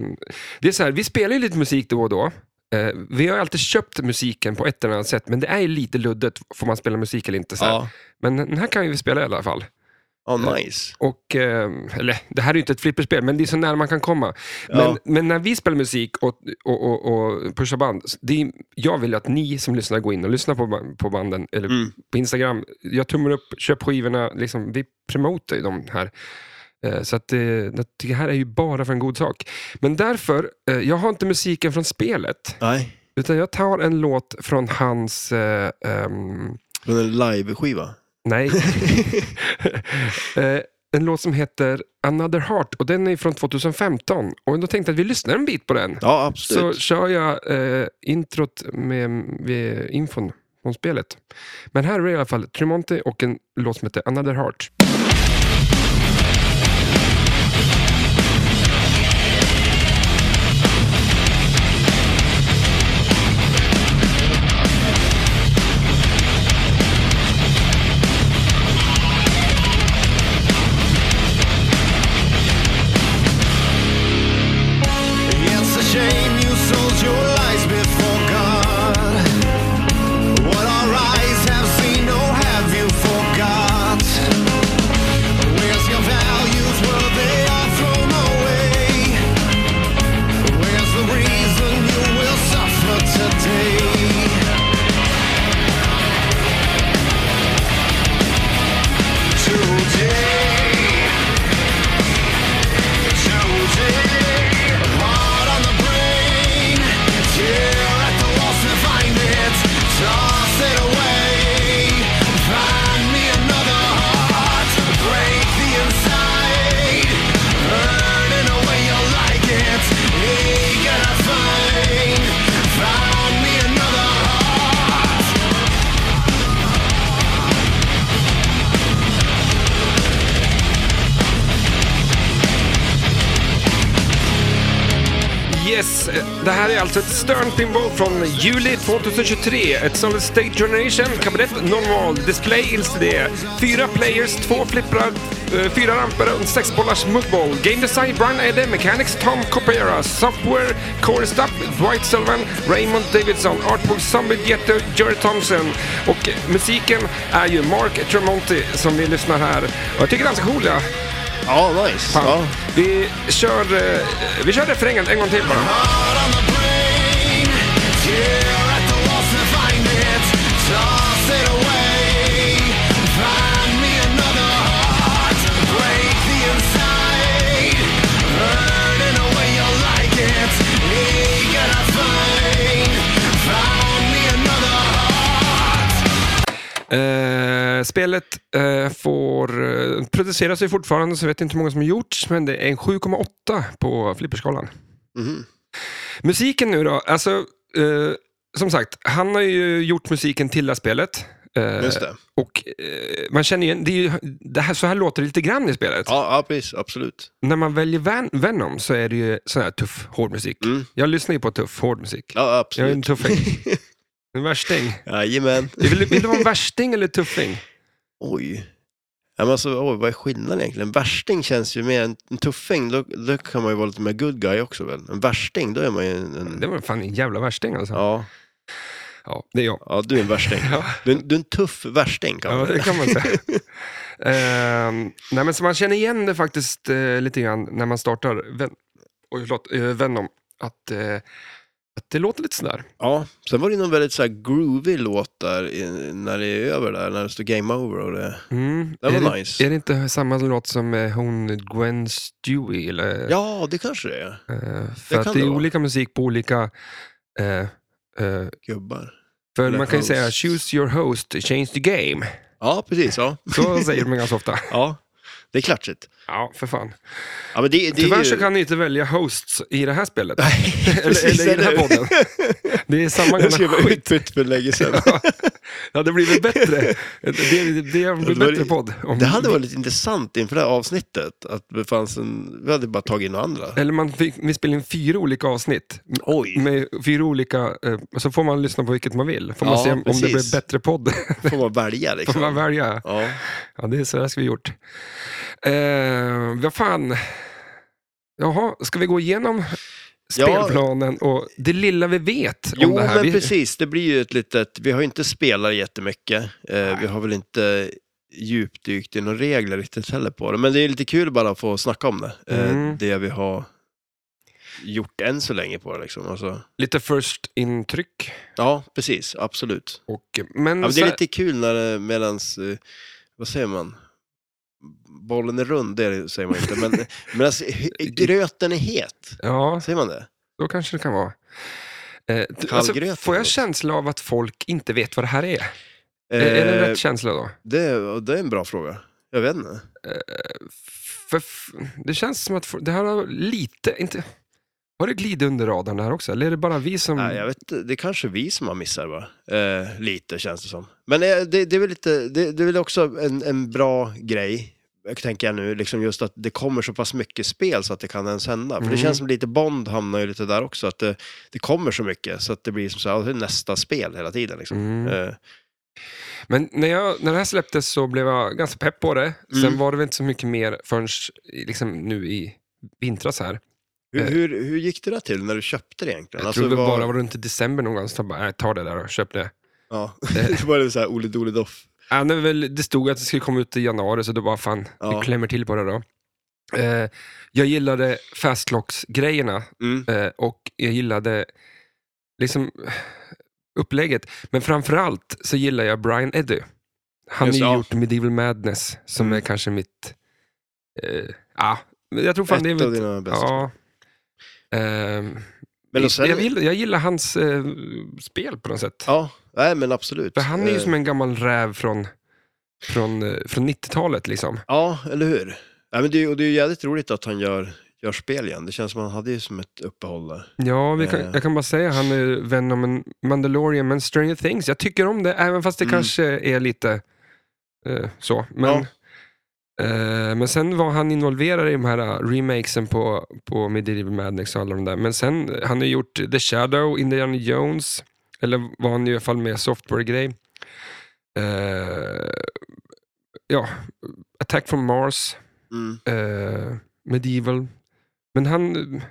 A: det är så här, vi spelar ju lite musik då och då. Eh, Vi har ju alltid köpt musiken på ett eller annat sätt, men det är ju lite luddigt. Får man spela musik eller inte? Så här.
B: Ja.
A: Men den här kan ju vi spela i alla fall.
B: ja, nice.
A: Och, eh, eller, det här är ju inte ett flipperspel, men det är så nära man kan komma. Men,
B: Ja.
A: men när vi spelar musik och, och, och, och pushar band, så det är, jag vill ju att ni som lyssnar går in och lyssnar på, ba- på banden, eller
B: Mm.
A: på Instagram. Jag tummar upp, köp skivorna, liksom, vi promotar ju de här. Eh, Så att eh, jag tycker det här är ju bara för en god sak. Men därför, eh, jag har inte musiken från spelet,
B: Nej,
A: utan jag tar en låt från hans... Eh, ehm,
B: från en live-skiva.
A: Nej. Eh, en låt som heter Another Heart och den är från 2015. Och då tänkte jag att vi lyssnar en bit på den.
B: Ja,
A: Så
B: absolut.
A: kör jag eh, introt med, med infon från spelet. Men här är det i alla fall Tremonti och en låt som heter Another Heart.
E: It's a shame you sold your lies before God. What our eyes have seen, oh, have you forgot? Where's your values? Were they all thrown?
A: Yes, eh, det här är alltså ett stönt pinball från juli 2023. Ett Solid State Generation, kabinett, normal, display, LCD, fyra players, två flipprar, eh, fyra ramper och en sexbollars mudball. Game design, Brian Edde, Mechanics, Tom Copera, Software, Corey Stapp, Dwight Sullivan, Raymond Davidson, Artbook, Zombie Jette, Jerry Thompson. Och eh, musiken är ju Mark Tremonti som vi lyssnar här. Och jag tycker den är ganska cool, ja.
B: Ja, nice.
A: Fan.
B: Ja.
A: Vi kör, eh, vi kör refrängen en gång till bara.
E: Out on the brain, tear at the loss and find it. Toss it away. Find me another heart. Break the inside. Burn in a way you like it. Eager to find. Find me another heart.
A: Eh, spelet eh, får, eh, produceras ju fortfarande, så jag vet inte hur många som har gjorts, men det är en 7,8 på flipperskalan.
B: Mhm.
A: Musiken nu då, alltså, eh, som sagt, han har ju gjort musiken till det här spelet. Eh,
B: Just det.
A: Och eh, man känner igen, det är ju, det här, så här låter det lite grann i spelet.
B: Ja, ja, precis. Absolut.
A: När man väljer Van, Venom så är det ju sån här tuff, hård musik.
B: Mm.
A: Jag lyssnar ju på tuff, hård musik.
B: Ja,
A: Jag är
B: absolut.
A: en tuffing. En värsting.
B: Jajamän.
A: Vill, du- vill du vara en värsting eller tuffing?
B: Oj. Ja, men alltså, oj, vad är skillnaden egentligen? Värsting känns ju mer, en en tuffing, då, då kan man ju vara lite mer good guy också väl? En värsting, då är man ju en...
A: Det
B: en
A: var fan en jävla värsting alltså. Ja,
B: Mm. ja,
A: det är jag.
B: ja, du är en värsting.
A: Ja.
B: Du, är en- du är en tuff värsting kan
A: Ja,
B: man
A: det
B: säga.
A: kan man säga. Ehm, nej, men så man känner igen det faktiskt eh, lite grann när man startar Ven- Oj, förlåt, eh, Venom. Att, eh, att det låter lite sådär.
B: Ja, sen var det ju någon väldigt så här groovy låt där i, när det är över där, när det står game over och det...
A: Mm.
B: Det var
A: är,
B: nice.
A: det, är det inte samma låt som eh, hon Gwen Stewie? Eller,
B: Ja, det kanske det är.
A: Eh, för
B: det
A: att
B: kan
A: det är
B: det vara.
A: olika musik på olika... eh, eh,
B: Gubbar.
A: för
B: Eller
A: man kan ju
B: host.
A: säga “Choose your host, change the game”.
B: Ja, precis. Ja.
A: Så säger man ganska ofta.
B: ja. Det är klatschigt.
A: Ja, för fan.
B: Ja, men det, det är
A: Tyvärr
B: ju...
A: så kan ni inte välja hosts i det här spelet. eller,
B: precis,
A: eller i den här
B: eller hur?
A: podden. Det är samma
B: Jag
A: gamla
B: skrev
A: skit.
B: utbytt för länge sedan.
A: Det hade blivit bättre. Det, det, det hade blivit
B: Det var-
A: bättre podd. Om,
B: Det hade varit lite intressant inför det här avsnittet, att det fanns en... Vi hade bara tagit in några andra.
A: Eller man fick, vi spelade in fyra olika avsnitt.
B: Oj,
A: Med fyra olika, eh, så får man lyssna på vilket man vill. Får man
B: Ja,
A: se om, om det
B: precis.
A: blir bättre podd.
B: får man välja
A: får man
B: liksom.
A: välja.
B: Ja,
A: Ja, det är så här ska vi gjort. Eh, vad fan. Jaha, ska vi gå igenom spelplanen och det lilla vi vet om
B: jo,
A: det här?
B: men
A: vi,
B: precis. Det blir ju ett litet... Vi har ju inte spelat jättemycket. Eh, vi har väl inte djupdykt i några regler riktigt heller på det. Men det är lite kul bara att få snacka om det. Eh,
A: Mm.
B: Det vi har gjort än så länge på det liksom. Alltså,
A: Lite först intryck.
B: ja, precis. Absolut.
A: Och, men
B: Ja, men det
A: så
B: är
A: här-
B: lite kul när det medans, eh, vad säger man, bollen är rund, det säger man inte, men medans hy- eh, gröten är het,
A: ja,
B: säger man det?
A: då kanske det kan vara. Eh, t- alltså,
B: Kallgröt
A: får jag
B: eller något.
A: känsla av att folk inte vet vad det här är? Är- Är det
B: Eh,
A: en rätt känsla då?
B: det, är- det är en bra fråga. Jag vet inte.
A: För f- det känns som att f- det här har lite, inte, var det glid under radarn här också? Eller är det bara vi som...
B: Nej, jag vet, inte. det är kanske vi som har missat va? Eh, lite känns det som. Men eh, det, det, är väl lite, det, det är väl också en, en bra grej, jag tänker jag nu, liksom just att det kommer så pass mycket spel så att det kan ens hända. För
A: Mm.
B: det känns som lite Bond hamnar ju lite där också, att det, det kommer så mycket så att det blir som så här, ja, det är nästa spel hela tiden. Liksom.
A: Mm.
B: Eh,
A: Men när, jag, när det här släpptes så blev jag ganska pepp på det. Sen
B: Mm.
A: var det väl inte så mycket mer förrän i- liksom, nu i vintras här. Eh.
B: hur, hur, hur gick det där till när du köpte det
A: Jag
B: egentligen?
A: tror
B: Alltså,
A: det
B: var-
A: bara var runt i december någon gång, så jag bara, "Nej, ta det där och köp det.
B: Ja, det var det så här Ole Dole Doff.
A: Ja, det, är väl, det stod att det skulle komma ut i januari, så då bara fan,
B: Ja.
A: vi klämmer till på det då. Eh, jag gillade fastlocks-grejerna
B: Mm.
A: eh, och jag gillade liksom eh, upplägget. Men framförallt så gillar jag Brian Eddy. Han har
B: Just
A: ju
B: det, ja.
A: gjort Medieval Madness, som
B: Mm.
A: är kanske mitt... Eh, ja, men jag tror fan det är
B: Ett av
A: mitt...
B: dina bästa.
A: Ja. Ehm,
B: Men och sen,
A: jag, gillar, jag gillar hans eh, spel på något sätt.
B: ja, nej men absolut.
A: För han är ju
B: Eh,
A: som en gammal räv från, från, eh, från 90-talet liksom.
B: Ja, eller hur? Ja, men det, är ju- och det är ju jävligt roligt att han gör, gör spel igen. Det känns som att han hade ju som ett uppehåll där.
A: Ja, vi kan,
B: Eh.
A: jag kan bara säga han är vän om en Mandalorian, men Stranger Things, jag tycker om det, även fast det
B: Mm.
A: kanske är lite eh, så. Men
B: Ja.
A: Eh, men sen var han involverad i de här eh, remakesen på, på Medieval Madness och alla de där. Men sen, eh, han har ju gjort The Shadow, Indiana Jones, eller var han i alla fall med software-grej. Eh, ja, Attack from Mars,
B: Mm.
A: eh, Medieval. Men han, eh,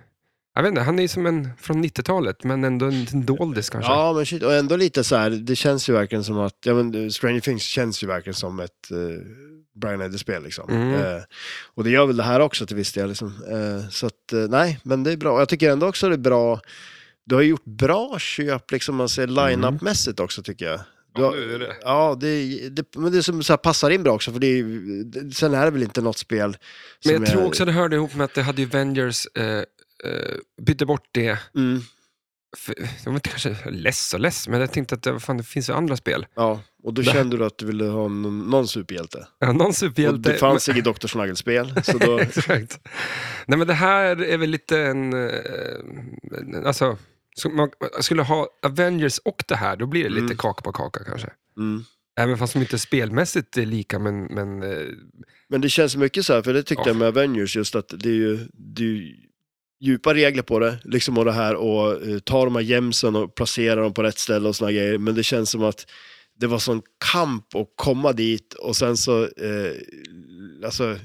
A: jag vet inte, han är som en från 90-talet, men ändå en, en doldis kanske.
B: Ja, men shit. Och ändå lite så här, det känns ju verkligen som att, ja men eh, Stranger Things känns ju verkligen som ett eh, Brian Eddy-spel liksom.
A: Mm.
B: Eh, och det gör väl det här också till viss del liksom. Eh, så att, eh, nej, men det är bra. Och Jag tycker ändå också det är bra, du har gjort bra köp liksom, man
A: Mm.
B: ser line-up-mässigt också tycker jag. Du har,
A: nu är det.
B: Ja, det, det, men det är som så här passar in bra också, för det är, ju- det, sen är det väl inte något spel
A: Men
B: som
A: jag tror också det hörde ihop med att det hade ju Avengers eh, eh, bytte bort det.
B: Mm,
A: För, jag var inte kanske less och less, men jag tänkte att det, vad fan, det finns ju andra spel.
B: ja, och då
A: Det-
B: kände du att du ville ha någon, någon superhjälte.
A: Ja, någon
B: Och
A: superhjälte.
B: det fanns inget Dr. Snuggle-spel, så då...
A: Exakt. Nej, men det här är väl lite en... eh, Alltså, så man skulle ha Avengers och det här, då blir det lite
B: Mm.
A: kaka på kaka kanske.
B: Mm.
A: Även fast de inte spelmässigt är lika, men... men eh,
B: Men det känns mycket så här, för det tyckte
A: Ja.
B: jag med Avengers, just att det är ju, det är ju djupa regler på det, liksom och det här och eh, ta de här gemsen och placera dem på rätt ställe och såna grejer, men det känns som att det var sån kamp att komma dit och sen så, eh, alltså,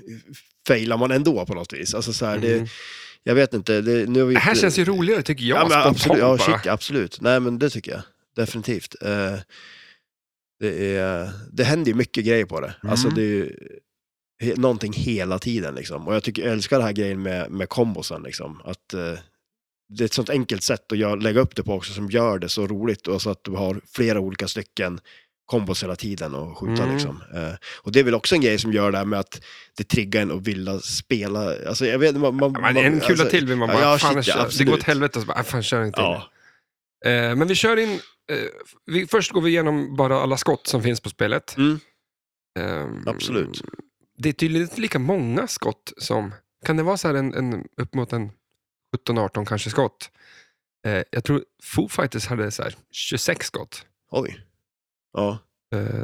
B: failar man ändå på något vis. Alltså så här,
A: Mm.
B: det, jag vet inte, det, nu har vi
A: det här
B: inte-
A: känns ju roligare tycker jag,
B: ja, men
A: spontant
B: absolut, ja,
A: bara.
B: shit, absolut. Nej, men det tycker jag. Definitivt. Eh, det, är, det händer ju mycket grejer på det.
A: Mm.
B: Alltså det är ju he, någonting hela tiden liksom. Och jag, tycker, jag älskar den här grejen med, med kombosen liksom. Att, eh, det är ett sånt enkelt sätt att gör, lägga upp det på också som gör det så roligt. Och så att du har flera olika stycken kombos hela tiden och skjuta
A: Mm.
B: liksom. Eh, och det är väl också en grej som gör det här med att det triggar en att vilja spela. Alltså jag vet man, man,
A: Ja, men en kula
B: alltså-
A: till vill man bara,
B: Ja, ja,
A: fan,
B: shit,
A: jag
B: ja,
A: kör, det går åt
B: absolut.
A: helvete. Och Så bara, "Ah, fan, kör inte in.
B: Ja,
A: Eh, men vi kör in, eh, vi, först går vi igenom bara alla skott som finns på spelet.
B: Mm.
A: Ehm,
B: Absolut.
A: Det är tydligen inte lika många skott som, kan det vara så här en, en upp mot en 17-18 kanske skott? Eh, jag tror Foo Fighters hade så här 26 skott.
B: Oj. Ja,
A: Eh,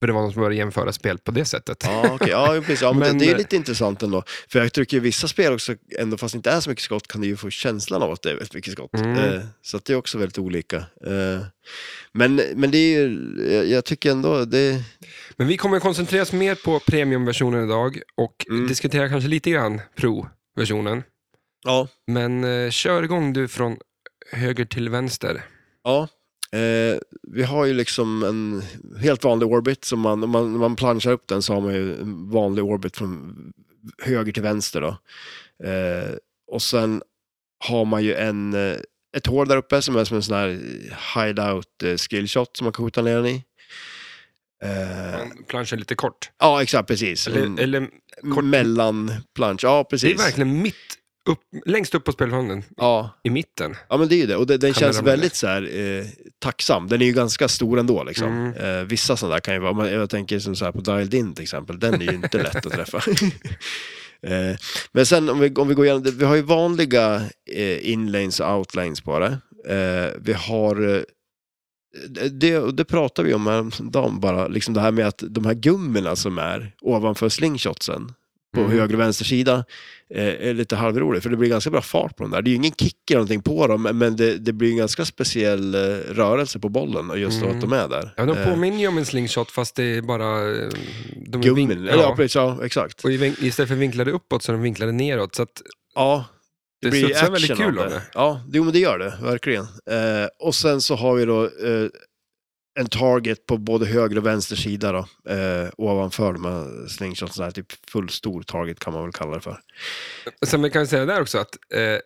A: för det var någon som började jämföra spel på det sättet.
B: ja okej. Ja, precis. Ja, men
A: Men,
B: det, det är
A: eh,
B: lite intressant ändå. För jag tycker i vissa spel också, ändå fast det inte är så mycket skott, kan du ju få känslan av att det är väldigt mycket skott.
A: Mm.
B: Eh, så att det är också väldigt olika. Eh, men, men det är ju, jag, jag tycker ändå det...
A: Men vi kommer koncentrera oss mer på premiumversionen idag och
B: Mm.
A: diskutera kanske lite grann pro-versionen.
B: Ja.
A: Men eh, kör igång du från höger till vänster.
B: ja. Eh, vi har ju liksom en helt vanlig orbit, som man, om man, om man planchar upp den så har man ju en vanlig orbit från höger till vänster då. Eh, och sen har man ju en, eh, ett hål där uppe som är som en sån här hideout eh, skillshot som man kan skjuta ner den i. Eh,
A: Man planschar lite kort.
B: ja, exakt, precis.
A: Eller,
B: En
A: eller, kort-
B: Mellanplansch,
A: det
B: ja
A: är
B: Mm. precis.
A: verkligen mitt, upp, längst upp på spelplanen,
B: ja,
A: i mitten.
B: Ja men det är ju det, och det, den
A: Kan
B: känns
A: ramla ner.
B: väldigt så här, eh, tacksam. Den är ju ganska stor ändå liksom.
A: Mm.
B: Eh, vissa sådana där kan ju vara, om man- jag tänker som så här på Dialed In till exempel, den är ju inte lätt att träffa. eh, men sen om vi, om vi går igenom, det, vi har ju vanliga eh, inlanes och outlanes på det. Eh, vi har eh, det- det, och det pratade vi om häromdagen bara, liksom det här med att de här gummorna som är ovanför slingshotsen på
A: Mm.
B: höger och vänster sida eh, är lite halvrolig, för det blir ganska bra fart på dem där. Det är ju ingen kick eller någonting på dem, men det, det blir en ganska speciell eh, rörelse på bollen och just då
A: Mm.
B: att de är där.
A: Ja, de
B: Eh,
A: påminner ju om en slingshot fast det är bara... eh, De är
B: gummin,
A: vink-
B: ja.
A: ja.
B: precis, ja, exakt.
A: Och i vink- istället för vinklade uppåt så är de vinklade neråt. Så att
B: Ja,
A: det,
B: blir
A: studsar
B: action
A: väldigt kul
B: av
A: av det.
B: Ja, jo men det gör det, verkligen. Eh, och sen så har vi då eh, en target på både höger och vänster sida då, eh, ovanför de här slingshotsarna, typ full stor target kan man väl kalla det för.
A: Och Sen vi kan säga där också att eh, eh,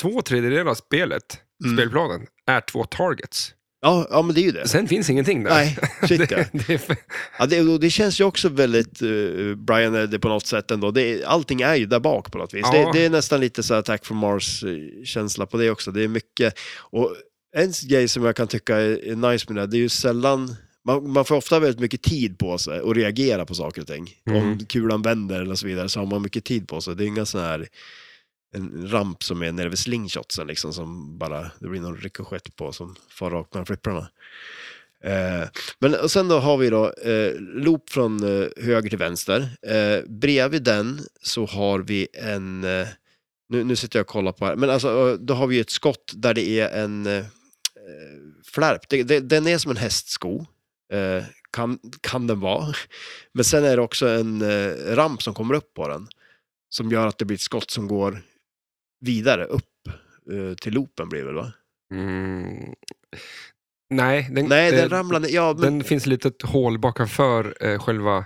A: två tredjedelar av spelet,
B: Mm.
A: spelplanen, är två targets.
B: Ja, ja men det är ju det.
A: Sen finns ingenting där.
B: Nej, shit ja.
A: det, det är för,
B: ja det, och det känns ju också väldigt eh, Brian Eddy på något sätt ändå. Det, är- allting är ju där bak på något vis.
A: Ja.
B: Det, det är nästan lite så här Attack from Mars-känsla på det också. Det är mycket, och en grej som jag kan tycka är, är nice med det, här, det är ju sällan man, man får ofta väldigt mycket tid på sig att reagera på saker och ting. Om
A: Mm.
B: kulan vänder eller så vidare så har man mycket tid på sig. Det är inga sådana här en ramp som är nere vid slingshotsen liksom som bara, det blir någon rikoschett på som far rakt mellan flipprarna. Eh, men och sen då har vi då eh, loop från eh, höger till vänster. Eh, bredvid den så har vi en, eh, nu, nu sitter jag och kollar på här, men alltså eh, då har vi ett skott där det är en eh, eh, flärp. Det, det, den är som en hästsko, eh, kan, kan den vara. Men sen är det också en eh, ramp som kommer upp på den. Som gör att det blir ett skott som går vidare upp eh, till loopen blir det väl va?
A: Mm. Nej, den,
B: Nej, den
A: eh,
B: ramlar ner. Ja, men,
A: den finns ett litet hål bakanför eh, själva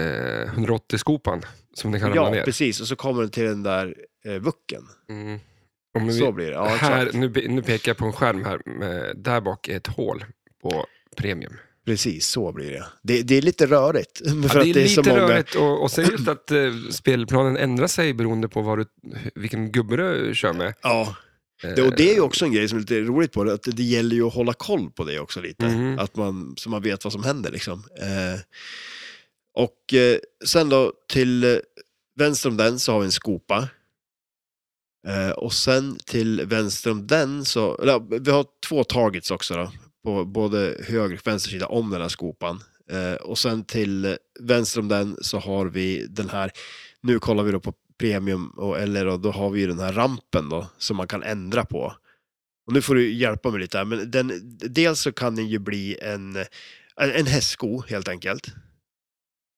A: eh, 180-skopan som den kan ramla
B: ja
A: ner.
B: precis. Och så kommer den till den där eh, vucken.
A: Mm. Om vi,
B: Så blir det. Ja,
A: här,
B: exakt.
A: nu, be- nu pekar jag på en skärm här. Eh, Där bak är ett hål på premium.
B: Precis, så blir det. Det, det är lite rörigt. För
A: ja, det är,
B: att det är
A: lite
B: så många...
A: rörigt och, och sen just att eh, spelplanen ändrar sig beroende på vad du, vilken gubbe du kör med.
B: Ja,
A: Eh,
B: det, och det är ju också en grej som är lite roligt på det, att det gäller ju att hålla koll på det också lite.
A: Mhm.
B: Att man, så man vet vad som händer liksom. Eh, och eh, sen då till eh, vänster om den så har vi en skopa. Eh, och sen till vänster om den så, eller, ja, vi har två targets också då, på både höger och vänster sida om den här skopan. Eh, och sen till eh, vänster om den så har vi den här, nu kollar vi då på premium, och, eller då, då har vi ju den här rampen då, som man kan ändra på. Och nu får du hjälpa mig lite här, men den, dels så kan den ju bli en, en, en hästsko helt enkelt.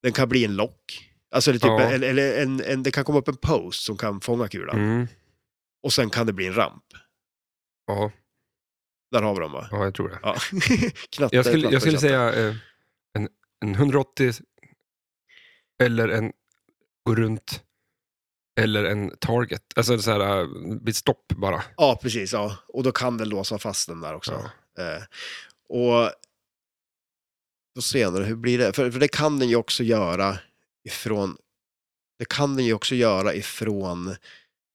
B: Den kan bli en lock. Alltså det, är typ
A: Ja.
B: en, eller en, en, det kan komma upp en post som kan fånga kulan.
A: Mm.
B: Och sen kan det bli en ramp.
A: Ja,
B: Där har vi dem va?
A: ja, jag tror det.
B: Ja. Knatte,
A: Jag skulle,
B: knatte,
A: jag skulle
B: knatte.
A: säga eh, en, en 180 eller en gå runt eller en target. Alltså så här, eh, blir stopp bara.
B: Ja, precis. Ja. Och då kan den låsa fast den där också. Eh, och då senare, hur blir det? För, för det kan den ju också göra ifrån det kan den ju också göra ifrån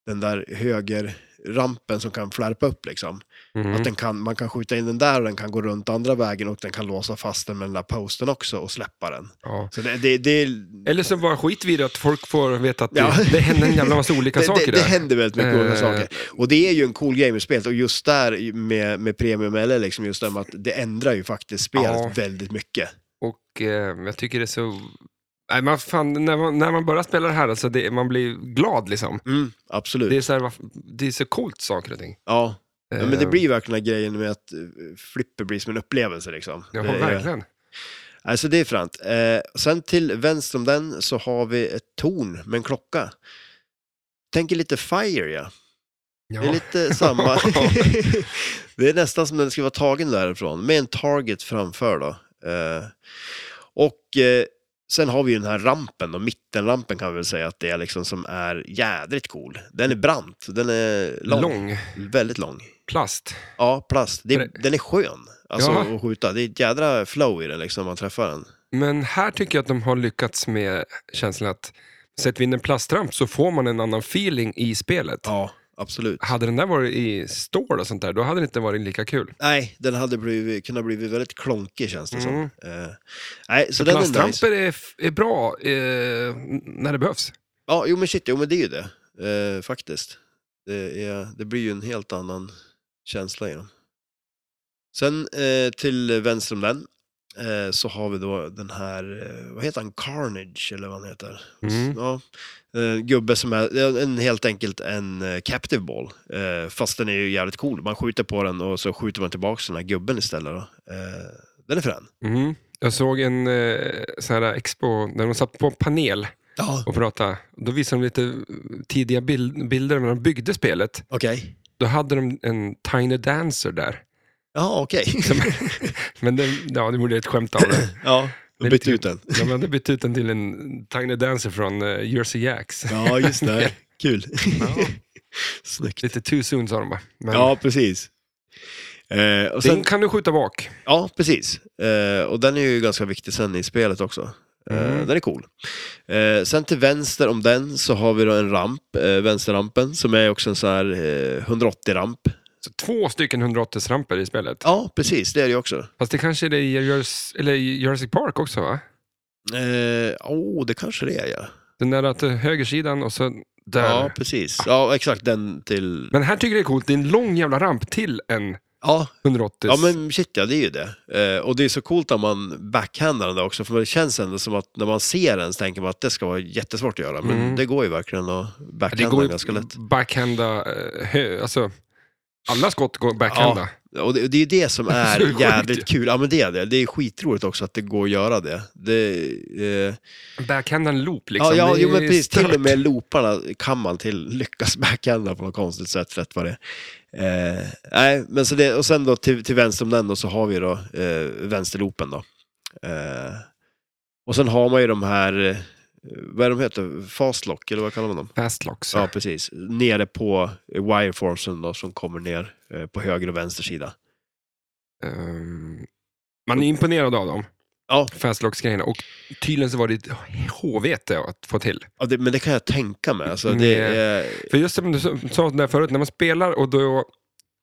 B: den där högerrampen som kan flärpa upp liksom.
A: Mm.
B: Att den kan, man kan skjuta in den där och den kan gå runt andra vägen och den kan låsa fast den med den där posten också och släppa den.
A: ja.
B: Så det, det, det,
A: Eller så bara skit vid att folk får veta att det,
B: Ja.
A: det händer en jävla massa olika
B: det,
A: saker
B: det,
A: där.
B: det händer väldigt mycket olika
A: Eh.
B: saker. Och det är ju en cool grej med spelet och just där med, med Premium eller liksom just det med att det ändrar ju faktiskt spelet
A: Ja.
B: väldigt mycket.
A: Och eh, jag tycker det är så... Nej, man, fan, när, man, när man börjar spela det här, alltså det, man blir glad liksom.
B: Mm, absolut.
A: Det är så, här, varf- det är så coolt saker och ting.
B: Ja. ja, men det
A: Eh,
B: blir ju verkligen den här grejen med att eh, flipper blir som en upplevelse liksom.
A: Ja,
B: Det är-
A: verkligen.
B: Alltså det är fränt. Eh, sen till vänster om den så har vi ett torn med en klocka. Tänker lite Fire ja.
A: Ja.
B: Det är lite samma. det är nästan som den ska vara tagen därifrån, med en target framför då. Eh, och eh, sen har vi ju den här rampen, och mittenrampen kan vi väl säga att det är liksom som är jädrigt cool. Den är brant, den är lång,
A: lång.
B: väldigt lång.
A: Plast.
B: Ja, plast. Det,
A: Men det-
B: Den är skön alltså,
A: Ja.
B: att skjuta. Det är ett jädra flow i den liksom, när man träffar den.
A: Men här tycker jag att de har lyckats med känslan att sätter vi in en plastramp så får man en annan feeling i spelet.
B: Ja, absolut.
A: Hade den där varit i stål och sånt där, då hade det inte varit lika kul.
B: Nej, den hade blivit, kunnat blivit väldigt klonkig känns det
A: Mm.
B: som. Eh, nej, så den är nice.
A: Plastramper är, är bra eh, när det behövs.
B: Ja, jo men shit, jo men det är ju det. Eh, faktiskt. Det, är, det blir ju en helt annan känsla i dem. Sen eh, till vänster om den eh, så har vi då den här, eh, vad heter han, Carnage eller vad han heter.
A: Mm.
B: Ja, eh, gubbe som är det är en, helt enkelt en eh, captive ball. Eh, fast den är ju jävligt cool. Man skjuter på den och så skjuter man tillbaka den här gubben istället. Då. Eh, den är frän.
A: Mm. Jag såg en eh, sån här expo, när de satt på en panel
B: Ja,
A: och pratade. Då visade de lite eh, tidiga bild, bilder när de byggde spelet.
B: okej.
A: Då hade de en Tiny Dancer där.
B: Ja, okej.
A: Men den, ja, det gjorde ett skämt av det.
B: ja,
A: Det är
B: bytt
A: lite-
B: ut den.
A: De hade bytt ut den till en Tiny Dancer från eh, Jersey Jacks.
B: Ja, just det. Kul.
A: Ja.
B: Snyggt.
A: Lite too soon sa de bara. Men
B: Ja, precis. Eh, och sen,
A: Den kan du skjuta bak.
B: ja, precis. Eh, och den är ju ganska viktig sen i spelet också. Eh,
A: Mm.
B: Den är cool. Eh, sen till vänster om den så har vi då en ramp, eh, vänsterrampen, som är också en sån här eh, 180-ramp.
A: Så två stycken 180-ramper i spelet.
B: Ja, precis, det är det ju också.
A: Fast det kanske är det i Jurs- eller i Jurassic Park också va?
B: Åh, oh, det kanske det är ja.
A: Den där att eh, högersidan och så där.
B: Ja, precis. Ja, exakt den till...
A: Men här tycker jag det är coolt, det är en lång jävla ramp till en
B: Ja,
A: 180.
B: ja men shit ja, det är ju det. Eh, och det är så coolt när man backhandar den där också, för det känns ändå som att när man ser den så tänker man att det ska vara jättesvårt att göra, men det går ju verkligen att
A: Mm. Ja, det
B: backhanda
A: går
B: den
A: ju
B: ganska lätt.
A: backhanda, eh, hö, alltså alla skott går backhanda.
B: Och det, det är ju det som
A: Så sjukt.
B: är jävligt kul. Ja, men det är det. Det är skitroligt också att det går att göra det. det eh,
A: Backhanda en loop liksom.
B: ja, ja
A: Det är
B: jo, men precis.
A: stört.
B: Till och med looparna kan man till lyckas backhanda på något konstigt sätt, rätt vad det är. eh, nej, men så det, Och sen då till, till vänster om den då, så har vi då eh, vänsterloopen då. Eh, och sen har man ju de här, eh, vad är de heter, fastlock eller vad kallar man dem?
A: Fastlocks.
B: Ja, precis. Nere på wireformsen då, som kommer ner eh, på höger och vänster sida.
A: Ehm, man är imponerad av dem,
B: Ja,
A: fastlocks-grejerna. Och tydligen så var det ett HVT att få till.
B: Ja, det, men det kan jag tänka mig. Alltså,
A: Mm,
B: det
A: ja.
B: är,
A: För just som du sa- sa där förut, när man spelar och då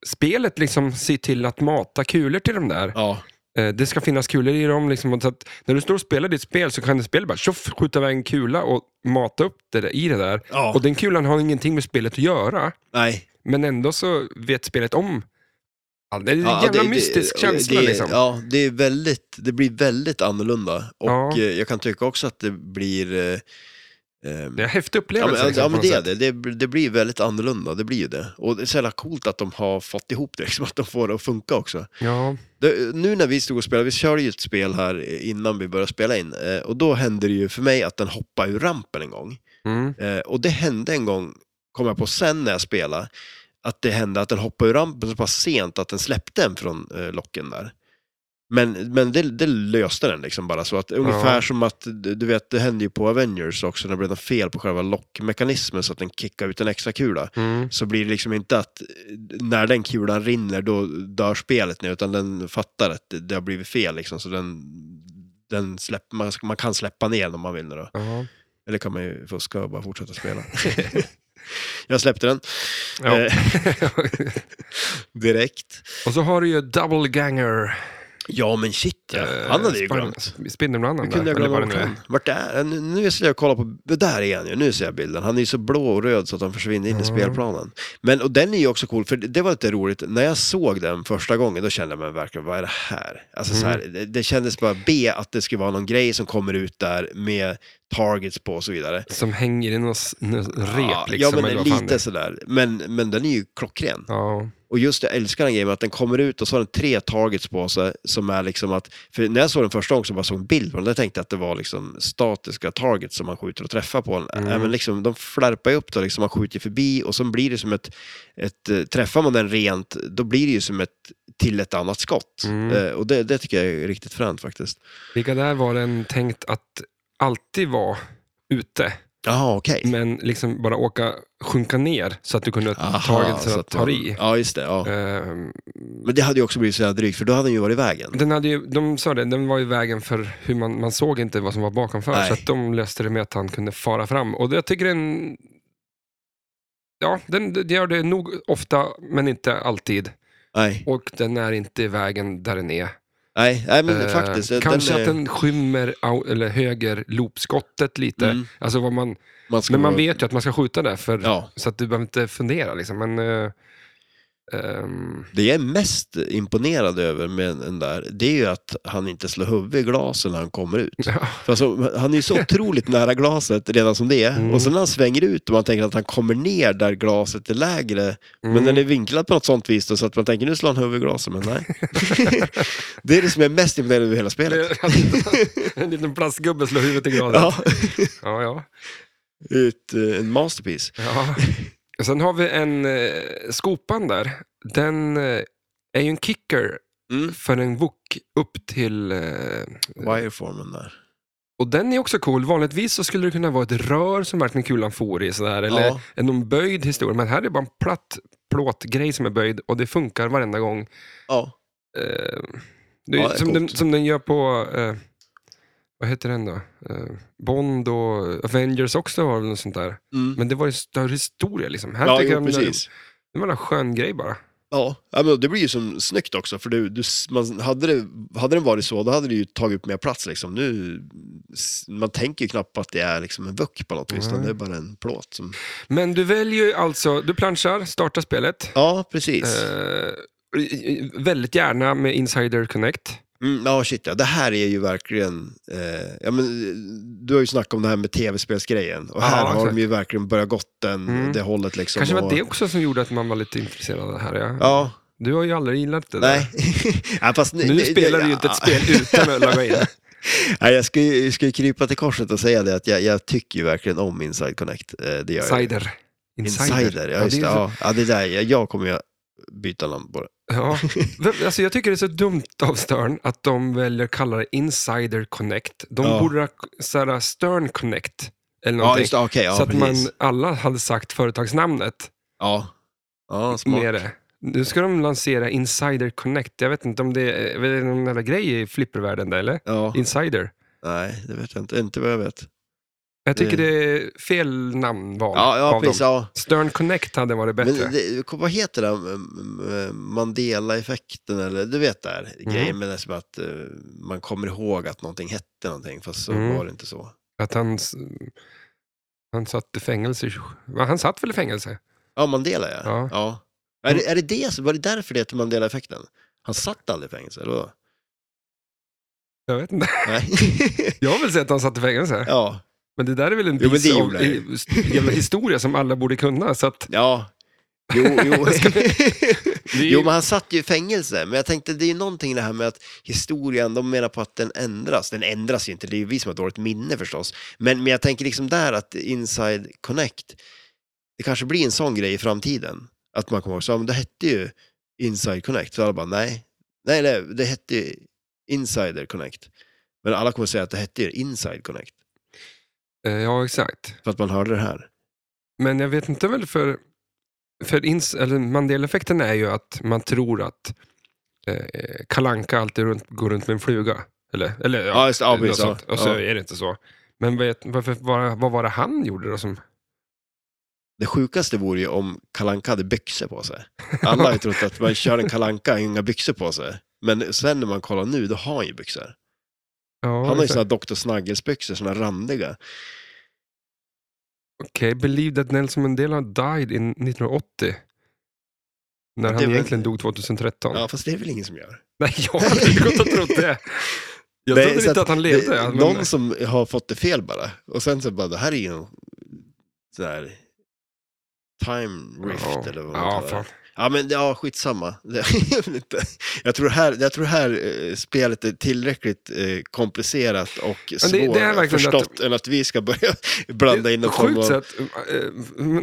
A: spelet liksom ser till att mata kulor till de där.
B: ja,
A: Eh, Det ska finnas kulor i dem. Liksom, och så att när du står och spelar ditt spel så kan det spelet bara tjoff, skjuta iväg en kula och mata upp det där, i det där.
B: ja.
A: Och den kulan har ingenting med spelet att göra,
B: nej.
A: men ändå så vet spelet om. Ja, det är en
B: Ja,
A: jävla
B: det- det-
A: mystisk
B: det-
A: känsla.
B: det,
A: liksom.
B: Ja, det, är väldigt, det blir väldigt annorlunda. Och
A: Ja.
B: eh, jag kan tycka också att det blir... eh, ehm,
A: Det är en häftig
B: Ja, men,
A: upplevelse. liksom,
B: ja,
A: på
B: men
A: något
B: det, är
A: sätt.
B: det. det det blir väldigt annorlunda, det blir ju det. Och det är så jävla coolt att de har fått ihop det, liksom, att de får det att funka också.
A: Ja.
B: Det, nu när vi stod och spelade, vi körde ju ett spel här innan vi började spela in, eh, och då hände det ju för mig att den hoppade ur rampen en gång.
A: Mm.
B: Eh, och det hände en gång, kom jag på sen när jag spelade, att det hände att den hoppade ur rampen så pass sent att den släppte en från eh, locken där. Men, men det, det löste den liksom bara så att ungefär som att, du du vet, det hände ju på Avengers också när det blev något fel på själva lockmekanismen så att den kickade ut en extra kula.
A: Mm.
B: Så blir det liksom inte att eh, när den kulan rinner då dör spelet nu utan den fattar att det, det har blivit fel liksom så den, den släpp, man, man kan släppa ner den om man vill nu då.
A: Ja.
B: Eller kan man ju fuska och bara fortsätta spela. jag släppte den
A: Ja.
B: Eh, direkt.
A: och så har du ju Double Ganger.
B: Ja men shit ja.
A: eh,
B: Han hade ju
A: Spin-
B: glömt.
A: Spindelmannen
B: Hur
A: där.
B: kunde jag
A: eller
B: glömma
A: vad det
B: bort
A: nu är.
B: han? Vart är Nu, nu ser jag kolla på... det Där är han ju. Nu ser jag bilden. Han är ju så blå och röd så att han försvinner in i spelplanen. Men och den är ju också cool, för det det var lite roligt. När jag såg den första gången, då kände jag mig verkligen, vad är det här? Alltså så
A: Mm.
B: här, det, det kändes bara B att det skulle vara någon grej som kommer ut där med targets på och så vidare.
A: Som hänger i något s- något rep.
B: ja,
A: liksom,
B: ja,
A: eller
B: men
A: vad fan det
B: lite
A: är.
B: sådär. Men, men den är ju klockren.
A: Ja.
B: Och just det, jag älskar den grejen med att den kommer ut och så har den tre targets på sig som är liksom att, för när jag såg den första gången så bara såg en bild på den, där tänkte jag att det var liksom statiska targets som man skjuter och träffar på den.
A: Mm.
B: Äh, Men liksom, de flärpar ju upp då, liksom man skjuter förbi och sen blir det som ett, ett eh, träffar man den rent, då blir det ju som ett, till ett annat skott.
A: Mm.
B: Eh, Och det, det tycker jag är riktigt fränt faktiskt.
A: Vilka där var den tänkt att alltid vara ute,
B: Jaha, okej.
A: men liksom bara åka, sjunka ner så att du kunde ta
B: Aha,
A: taget så
B: så
A: att
B: man-
A: ta i.
B: Ja, just det. Ja.
A: Ehm,
B: Men det hade ju också blivit så jävla drygt, för då hade den ju varit i vägen.
A: Den hade ju, de sa det, den var ju vägen för hur man, man såg inte vad som var bakomför.
B: Nej.
A: Så att de löste det med att han kunde fara fram. Och jag tycker den... Ja, den, den gör det nog ofta, men inte alltid.
B: Nej,
A: Och den är inte i vägen där den är.
B: nej, nej men
A: Eh,
B: faktiskt. den-
A: kanske
B: den är-
A: att den skymmer au- eller höger loopskottet lite.
B: Mm.
A: Alltså vad man,
B: man ska
A: men man
B: vara-
A: vet ju att man ska skjuta där, för,
B: Ja.
A: så att du behöver inte fundera. Liksom. Men, eh, ehm,
B: Det jag är mest imponerad över med den där, det är ju att han inte slår huvudet i glasen när han kommer ut.
A: ja.
B: För alltså, han är ju så otroligt nära glaset redan som det är.
A: Mm.
B: Och sen när han svänger ut och man tänker att han kommer ner där glaset är lägre,
A: Mm.
B: men den är vinklad på något sånt vis då, så att man tänker nu slår han huvudet i glasen, men nej. det är det som jag är mest imponerad över i hela spelet.
A: en liten plastgubbe slår huvudet i graden.
B: Ja,
A: Ja, ja.
B: Ut, eh, en masterpiece.
A: ja. Och Sen har vi en eh, skopan där. Den eh, är ju en kicker
B: Mm.
A: för en wok upp till... Eh,
B: Wireformen där.
A: och den är också cool. Vanligtvis så skulle det kunna vara ett rör som verkligen kulan for i, sådär, eller
B: Ja.
A: en någon böjd historia. Men här är det bara en platt plåtgrej som är böjd och det funkar varenda gång.
B: Ja.
A: Eh, det är,
B: Ja, det är
A: som, den,
B: coolt.
A: som den gör på, eh, vad heter den då? Eh, Bond och Avengers också har väl något sånt där.
B: Mm.
A: Men det var ju en större historia liksom. Här
B: Ja,
A: tycker
B: jo,
A: jag den-
B: precis.
A: Det var en skön grej bara.
B: Ja, ja, men det blir ju som snyggt också, för du, du, man, hade, det, hade den varit så, då hade det ju tagit upp mer plats. Liksom. Nu, s- man tänker ju knappt på att det är liksom en vuck på något vis, utan det är
A: Mm.
B: bara en plåt. Som...
A: Men du väljer ju alltså, du planchar, startar spelet.
B: Ja, precis.
A: Eh, väldigt gärna med Insider Connect.
B: Mm, ja, shit ja. Det här är ju verkligen... Eh, ja, men, eh, du har ju snackat om det här med tv-spelsgrejen. Och här
A: Ja,
B: har
A: exakt.
B: de ju verkligen börjat gått den,
A: Mm.
B: det hållet. Liksom,
A: Kanske var
B: och,
A: det också som gjorde att man var lite intresserad av det här. Ja.
B: Ja,
A: Du har ju aldrig gillat det
B: nej. ja, fast,
A: där. Nu spelar du ju inte ett spel utan att logga in.
B: Nej, jag ska ju, ska ju krypa till korset och säga det att jag, jag tycker ju verkligen om Inside Connect. Eh, Det gör jag.
A: Insider.
B: Insider. Ja, just det.
A: är så-
B: Ja, ja, det där, jag, jag kommer ju byta namn på det.
A: Ja. Vem- Alltså jag tycker det är så dumt av Stern att de väljer att kalla det Insider Connect. De
B: Ja.
A: borde ha såhär Stern Connect. Eller
B: Ja,
A: någonting.
B: just det. Okej, ja,
A: så att man
B: precis.
A: alla hade sagt företagsnamnet
B: Ja, ja smart.
A: med det. Nu ska de lansera Insider Connect. Jag vet inte om det är, är det någon jävla grej i flippervärlden där eller?
B: Ja,
A: Insider.
B: nej, det vet jag inte. Inte vad jag vet.
A: Jag tycker
B: Det-
A: det är fel namnval
B: Ja, ja
A: av
B: precis.
A: dem.
B: Ja.
A: Stern Connect hade varit
B: Men
A: bättre.
B: det, vad heter det? m- m- Mandela-effekten eller du vet där
A: Mm.
B: grejen med det som att eh, man kommer ihåg att någonting hette någonting fast så
A: Mm.
B: var det inte så.
A: Att han, s- han satt i fängelse. i tjo- Va, Han satt väl i fängelse?
B: Ja, Mandela ja.
A: Ja. Mm.
B: ja. Är, det, är det det? som- Var det därför det hette Mandela-effekten? Han satt aldrig i fängelse, eller vadå?
A: Jag vet inte.
B: Nej.
A: Jag har väl sett att han satt i fängelse.
B: ja.
A: Men det där är väl en
B: Jo, men det
A: piece av
B: gjorde han ju.
A: i- jävla historia som alla borde kunna. Så att,
B: Ja. Jo, jo.
A: Jag skojar.
B: jo, men han satt ju i fängelse. Men jag tänkte, det är ju någonting i det här med att historien, de menar på att den ändras. Den ändras ju inte, det är ju vi som har dåligt minne förstås. Men, men jag tänker liksom där att Inside Connect, det kanske blir en sån grej i framtiden. Att man kommer ihåg, så, ja, men det hette ju Inside Connect. Så alla bara, nej. Nej, nej, det hette ju Insider Connect. Men alla kommer säga att det hette ju Inside Connect.
A: eh, ja, exakt.
B: För att man hörde det här.
A: Men jag vet inte väl för... för ins, eller Mandela-effekten är ju att man tror att eh, Kalanka alltid runt, går runt med en fluga. Eller, eller ja,
B: Ja, just det. Ja,
A: något
B: precis, ja.
A: sånt. Och så
B: Ja.
A: är det inte så. Men vet, varför, vad, vad var det han gjorde då? Som,
B: Det sjukaste vore ju om Kalanka hade byxor på sig. Alla har ju trott att man kör en Kalanka har inga byxor på sig. Men sen när man kollar nu, då har han ju byxor.
A: ja,
B: Han har ju
A: exakt.
B: såna här Dr. Snuggles-byxor, såna här randiga.
A: Okej, believe that Nelson Mandela died in 1980. När
B: Det
A: han
B: var-
A: egentligen dog 2013.
B: Ja, fast det är väl ingen som gör.
A: Nej, jag hade inte gått och trott det. Jag
B: Nej,
A: trodde
B: så
A: inte att,
B: att
A: han levde.
B: det,
A: ja, men-
B: Någon som har fått det fel bara. Och sen så bara, det här är ju en sån här time rift
A: ja.
B: eller vad man
A: ja,
B: kallar
A: fan.
B: det. Ja, men ja, skitsamma. Det- jag vet inte. jag tror här, jag tror här eh, spelet är tillräckligt eh, komplicerat och
A: det- det är verkligen
B: svårförstått än att vi ska börja blanda in någon form
A: Sjukt
B: av...
A: sätt. eh,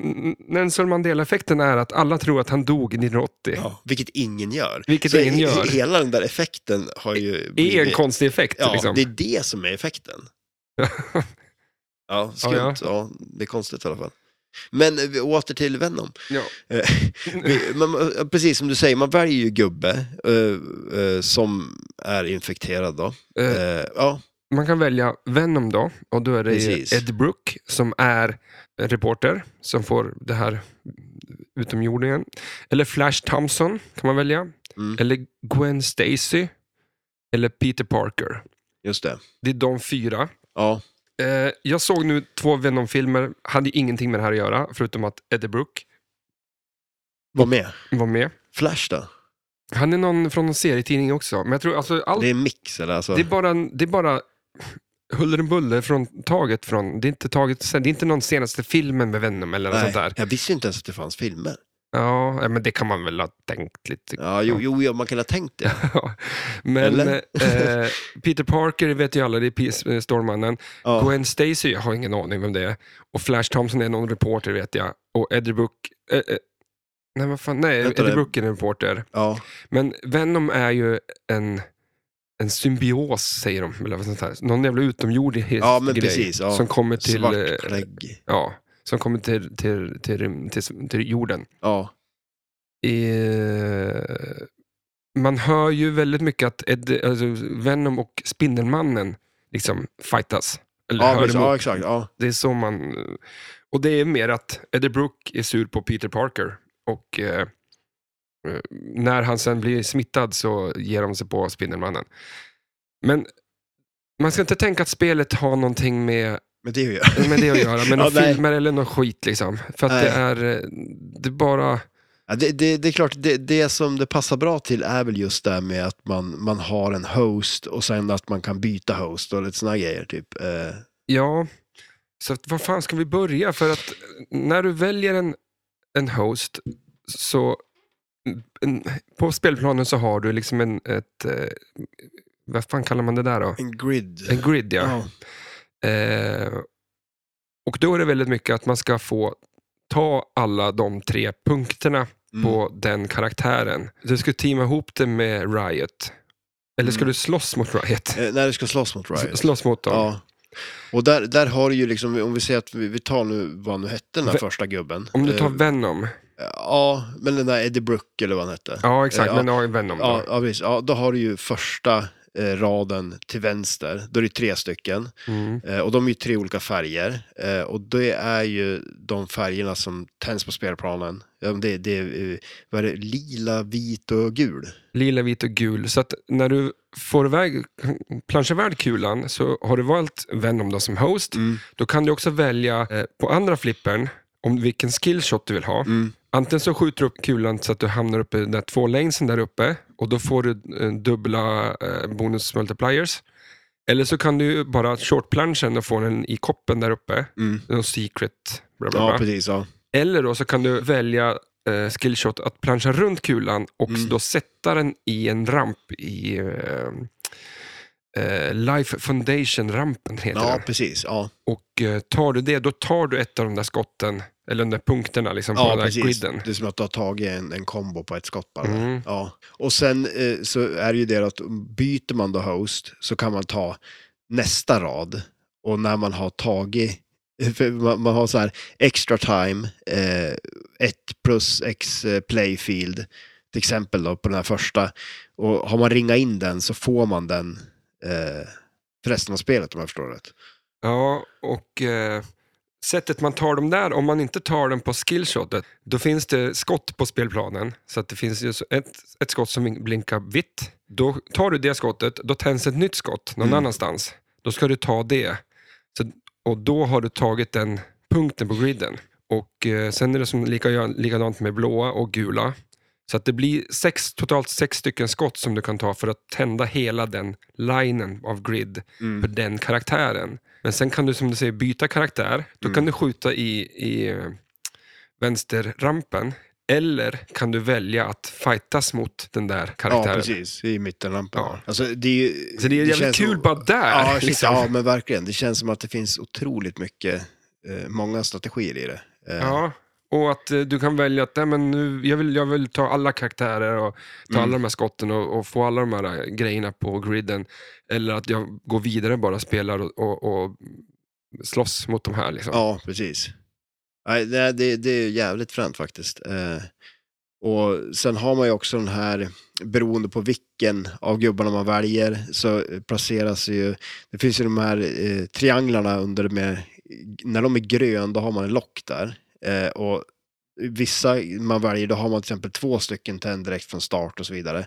A: Nelson Mandela-effekten är att alla tror att han dog 1980.
B: Ja, vilket ingen gör.
A: Vilket
B: Så
A: ingen
B: he-
A: gör.
B: Hela den där effekten har ju...
A: Det är en
B: blivit-
A: konstig effekt.
B: Ja,
A: liksom.
B: det är det som är effekten. Ja, skumt.
A: Ja,
B: Ja, det är konstigt i alla fall. Men eh, vi- åter till Venom.
A: Ja.
B: Eh, vi- man, eh, precis som du säger, man väljer ju gubbe eh, eh, som är infekterad då.
A: Eh,
B: Eh, ja,
A: Man kan välja Venom då, och då är det ju
B: Precis.
A: Ed Brook som är en reporter som får det här utomjordingen. Eller Flash Thompson kan man välja.
B: Mm.
A: Eller Gwen Stacy. Eller Peter Parker.
B: just det.
A: Det är de fyra.
B: Ja,
A: Eh, jag såg nu två Venom-filmer, hade ju ingenting med det här att göra, förutom att Eddie Brook
B: var med.
A: var med.
B: Flash då?
A: Han är någon från en serietidning också, men jag tror alltså allt,
B: Det
A: det,
B: är mix eller? Alltså.
A: är bara, en- det är bara huller och buller från taget från, det är inte taget sen, det är inte någon senaste filmen med Venom eller något
B: Nej,
A: sånt där.
B: Jag visste ju inte ens att det fanns filmer.
A: Ja, eh, men det kan man väl ha tänkt lite.
B: Ja, jo, jo ja, man kan ha tänkt det.
A: men
B: Eller?
A: eh, Peter Parker vet ju alla, det är P- eh, Stålmannen.
B: Ja.
A: Gwen Stacy, jag har ingen aning vem det är. Och Flash Thompson är någon reporter vet jag. Och Eddie Brook... Eh, eh, nej, vad fan, nej,
B: Vänta,
A: Eddie
B: det-
A: Brook är en reporter.
B: Ja.
A: Men Venom är ju en, en symbios, säger de. Eller vad sånt här. Någon jävla utomjordisk
B: Ja, men
A: grej.
B: precis, ja.
A: Som kommer till... eh,
B: Svart plägg.
A: ja, som kommer till, till, till, rym- till, till jorden.
B: Ja.
A: Eh, man hör ju väldigt mycket att Ed, alltså Venom och Spindelmannen liksom fightas. Eller
B: Ja,
A: hör
B: precis,
A: emot.
B: ja, exakt. Ja.
A: Det är så man... Och det är mer att Eddie Brook är sur på Peter Parker. Och eh, eh, när han sen blir smittad så ger de sig på Spindelmannen. Men man ska inte tänka att spelet har någonting med,
B: Men det är ju...
A: med det att göra. Med
B: Ja,
A: några
B: nej.
A: filmer eller någon skit liksom. För att det
B: Nej.
A: är, eh, det är bara...
B: Ja, det, det, det är klart, det, det som det passar bra till är väl just det här med att man, man har en host och sen att man kan byta host och lite sådana grejer. Typ. Eh,
A: Ja, så att, var fan ska vi börja? För att när du väljer en, en host så mm, en, på spelplanen så har du liksom en, ett, eh, vad fan kallar man det där då?
B: en grid.
A: En grid ja. Eh, och då är det väldigt mycket att man ska få ta alla de tre punkterna
B: Mm.
A: på den karaktären. Du ska teama ihop det med Riot. Eller ska
B: Mm.
A: du slåss mot Riot?
B: Eh, när du ska slåss mot Riot.
A: Slåss mot dem.
B: Ja. Och där, där har du ju liksom, om vi säger att vi, vi tar nu, vad nu hette den här
A: Ve-
B: första gubben.
A: Om du tar
B: Eh,
A: Venom.
B: Ja, men den där Eddie Brooke eller vad han hette.
A: Ja, exakt.
B: Eh, Ja.
A: Men ja, Venom. då.
B: Ja, ja, precis. ja, då har du ju första eh, raden till vänster. Då är det tre stycken.
A: Mm.
B: Eh, och de är ju tre olika färger. Eh, och det är ju de färgerna som tänds på spelplanen. Ja, men Det, det är eh, vad är det, lila, vit och gul.
A: Lila, vit och gul. Så att när du får iväg planschevärd kulan så har du valt Venom då som host.
B: Mm.
A: Då kan du också välja eh, på andra flippern om vilken skillshot du vill ha.
B: Mm.
A: Antingen så skjuter du upp kulan så att du hamnar uppe i den där två lanesen där uppe och då får du eh, dubbla eh, bonus multipliers. Eller så kan du bara shortplanschen och få den i koppen där uppe.
B: Mm.
A: Någon secret. Bla bla
B: Ja,
A: bla.
B: precis. Ja.
A: Eller då så kan du välja eh, skillshot att plancha runt kulan och
B: Mm.
A: då sätta den i en ramp i eh, eh, Life Foundation-rampen heter
B: ja,
A: den.
B: precis. Ja,
A: Och eh, tar du det, då tar du ett av de där skotten, eller de där punkterna liksom, från
B: ja
A: den där
B: precis.
A: griden.
B: Det är som att du har tagit en, en kombo på ett skott bara.
A: Mm.
B: Ja. Och sen eh, så är det ju det att byter man då host så kan man ta nästa rad. Och när man har tagit, för man, man har så här extra time, eh, ett plus x eh, playfield, till exempel då på den här första. Och har man ringat in den så får man den eh, för resten av spelet om jag förstår rätt.
A: Ja, och eh, sättet man tar dem där, om man inte tar den på skillshotet, då finns det skott på spelplanen. Så att det finns ju så- ett, ett skott som blinkar vitt. Då tar du det skottet, då tänds ett nytt skott någon
B: Mm.
A: annanstans. Då ska du ta det. Så, och då har du tagit den punkten på griden. Och eh, sen är det som lika, likadant med blåa och gula. Så att det blir sex, totalt sex stycken skott som du kan ta för att tända hela den linen av grid
B: Mm.
A: för den karaktären. Men sen kan du som du säger byta karaktär. Då
B: Mm.
A: kan du skjuta i, i eh, vänsterrampen. Eller kan du välja att fightas mot den där
B: Ja,
A: karaktären.
B: precis. I mittenlampan.
A: Ja.
B: Alltså, det är ju,
A: Så det är jävligt
B: känns
A: kul
B: som-
A: bara där.
B: Ja, shit,
A: liksom.
B: ja, men verkligen. Det känns som att det finns otroligt mycket, eh, många strategier i det. Eh,
A: Ja, och att eh, du kan välja att nej, men nu, jag, vill, jag vill ta alla karaktärer och
B: Mm.
A: ta alla de här skotten och, och få alla de här eh, grejerna på griden. Eller att jag går vidare bara spelar och, och, och slåss mot de här. Liksom.
B: ja, precis. Nej, det, det, det är jävligt fränt faktiskt. Eh, och sen har man ju också den här, beroende på vilken av gubbarna man väljer, så eh, placeras ju, det finns ju de här eh, trianglarna under med, när de är grön då har man en lock där. Eh, och vissa man väljer, då har man till exempel två stycken tänd direkt från start och så vidare.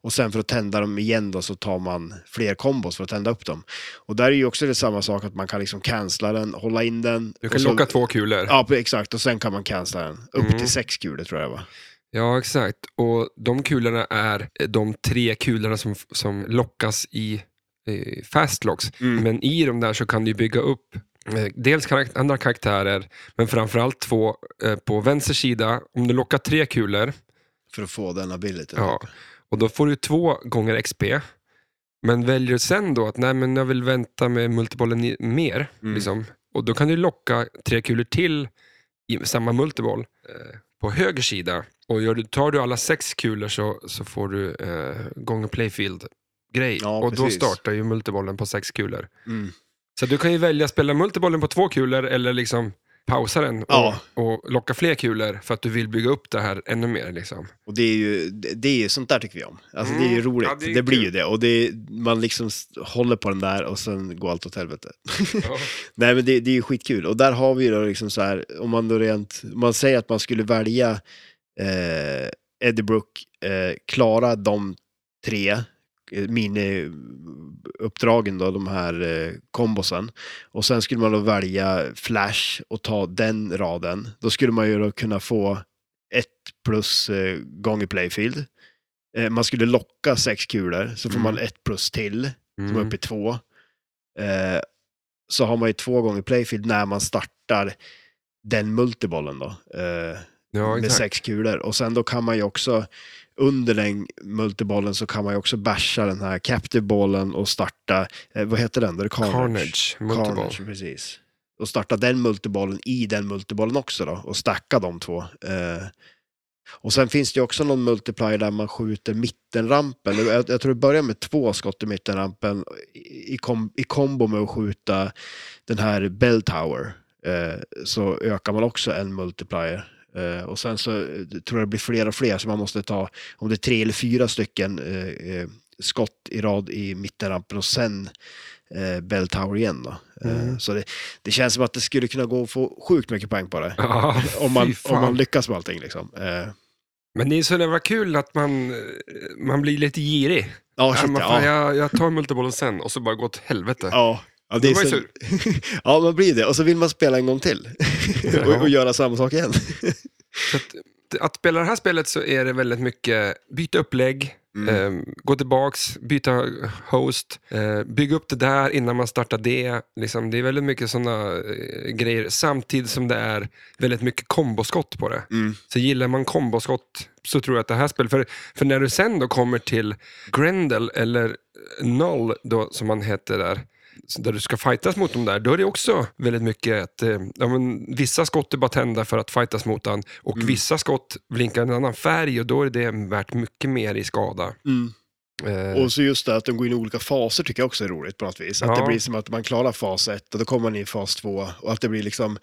B: Och sen för att tända dem igen då så tar man fler kombos för att tända upp dem. Och där är ju också det samma sak att man kan liksom cancella den, hålla in den.
A: Du
B: och
A: kan
B: så,
A: locka två kulor.
B: Ja, exakt. Och sen kan man cancella den. Upp
A: Mm.
B: till sex kulor tror jag va?
A: Ja, exakt. Och de kulorna är eh, de tre kulorna som, som lockas i eh, fastlocks.
B: Mm.
A: Men i de där så kan du bygga upp eh, dels karak- andra karaktärer, men framförallt två eh, på vänster sida. Om du lockar tre kulor,
B: För att få den abilityn.
A: ja, och då får du två gånger XP. Men väljer du sen då att nej, men jag vill vänta med multibollen i- mer,
B: Mm.
A: liksom. och då kan du locka tre kulor till i samma multiboll eh, på höger sida. Och gör du, tar du alla sex kulor så, så får du eh, gånger playfield-grej.
B: Ja,
A: och då
B: precis.
A: startar ju multibollen på sex kulor.
B: Mm.
A: Så du kan ju välja att spela multibollen på två kulor eller liksom pausa den och,
B: Ja.
A: och locka fler kulor för att du vill bygga upp det här ännu mer. Liksom.
B: Och det är ju, det det är ju sånt där tycker vi om. Alltså det är ju
A: Mm,
B: roligt.
A: ja, det
B: det,
A: är
B: blir ju
A: kul.
B: det. Och det är, man liksom s- håller på den där och sen går allt åt helvete. Nej men det, det är ju skitkul. Och där har vi ju då liksom så här, om man då rent, om man säger att man skulle välja eh, Eddie Brooke, eh, klara de tre eh, miniuppdragen då, de här eh, kombosen. Och sen skulle man då välja Flash och ta den raden. Då skulle man ju då kunna få ett plus eh, gånger playfield. Eh, man skulle locka sex kulor, så får
A: Mm.
B: man ett plus till, som är
A: Mm.
B: uppe i två. Eh, så har man ju två gånger playfield när man startar den multibollen då. Eh,
A: Ja,
B: med
A: exakt.
B: sex kulor. Och sen då kan man ju också, under den multibollen så kan man ju också basha den här captive-bollen och starta, eh, vad heter den? Då?
A: Carnage, multiboll.
B: Carnage, precis. Och starta den multibollen i den multibollen också då och stacka de två. Eh, och sen finns det ju också någon multiplier där man skjuter mittenrampen. Jag, jag tror det börjar med två skott i mittenrampen i, i, kom, i kombo med att skjuta den här Bell Tower. Eh, så ökar man också en multiplier. Eh, och sen så eh, tror jag det blir fler och fler så man måste ta, om det är tre eller fyra stycken eh, eh, skott i rad i mittenrampen och sen eh, Bell Tower igen då. Eh,
A: Mm.
B: Så det, det känns som att det skulle kunna gå att få sjukt mycket poäng på det.
A: Ja,
B: Om man,
A: fy fan.
B: om man lyckas med allting liksom. Eh,
A: Men det är så jävla kul att man, eh, man blir lite girig.
B: ja,
A: Ja,
B: shit,
A: men
B: ja.
A: fan, jag, jag tar multibollen sen och så bara gå åt helvete.
B: Ja. Ja, det
A: Det
B: är
A: var ju
B: så... ja, man blir det. Och så vill man spela en gång till. och, och göra samma sak igen.
A: Så att, att spela det här spelet så är det väldigt mycket byta upplägg, eh, gå tillbaks, byta host, eh, bygga upp det där innan man startar det. Liksom, det är väldigt mycket sådana eh, grejer, samtidigt som det är väldigt mycket komboskott på det. Så gillar man komboskott så tror jag att det här spelet, för, för när du sen då kommer till Grendel eller Null då, som han heter där, så där du ska fightas mot dem där, då är det också väldigt mycket att eh, ja, men, vissa skott är bara tända för att fightas mot han och
B: Mm.
A: vissa skott blinkar en annan färg och då är det värt mycket mer i skada. Eh,
B: Och så just det att de går in i olika faser tycker jag också är roligt på något vis. Att
A: Ja.
B: det blir som att man klarar fas ett och då kommer man in i fas två och att det blir liksom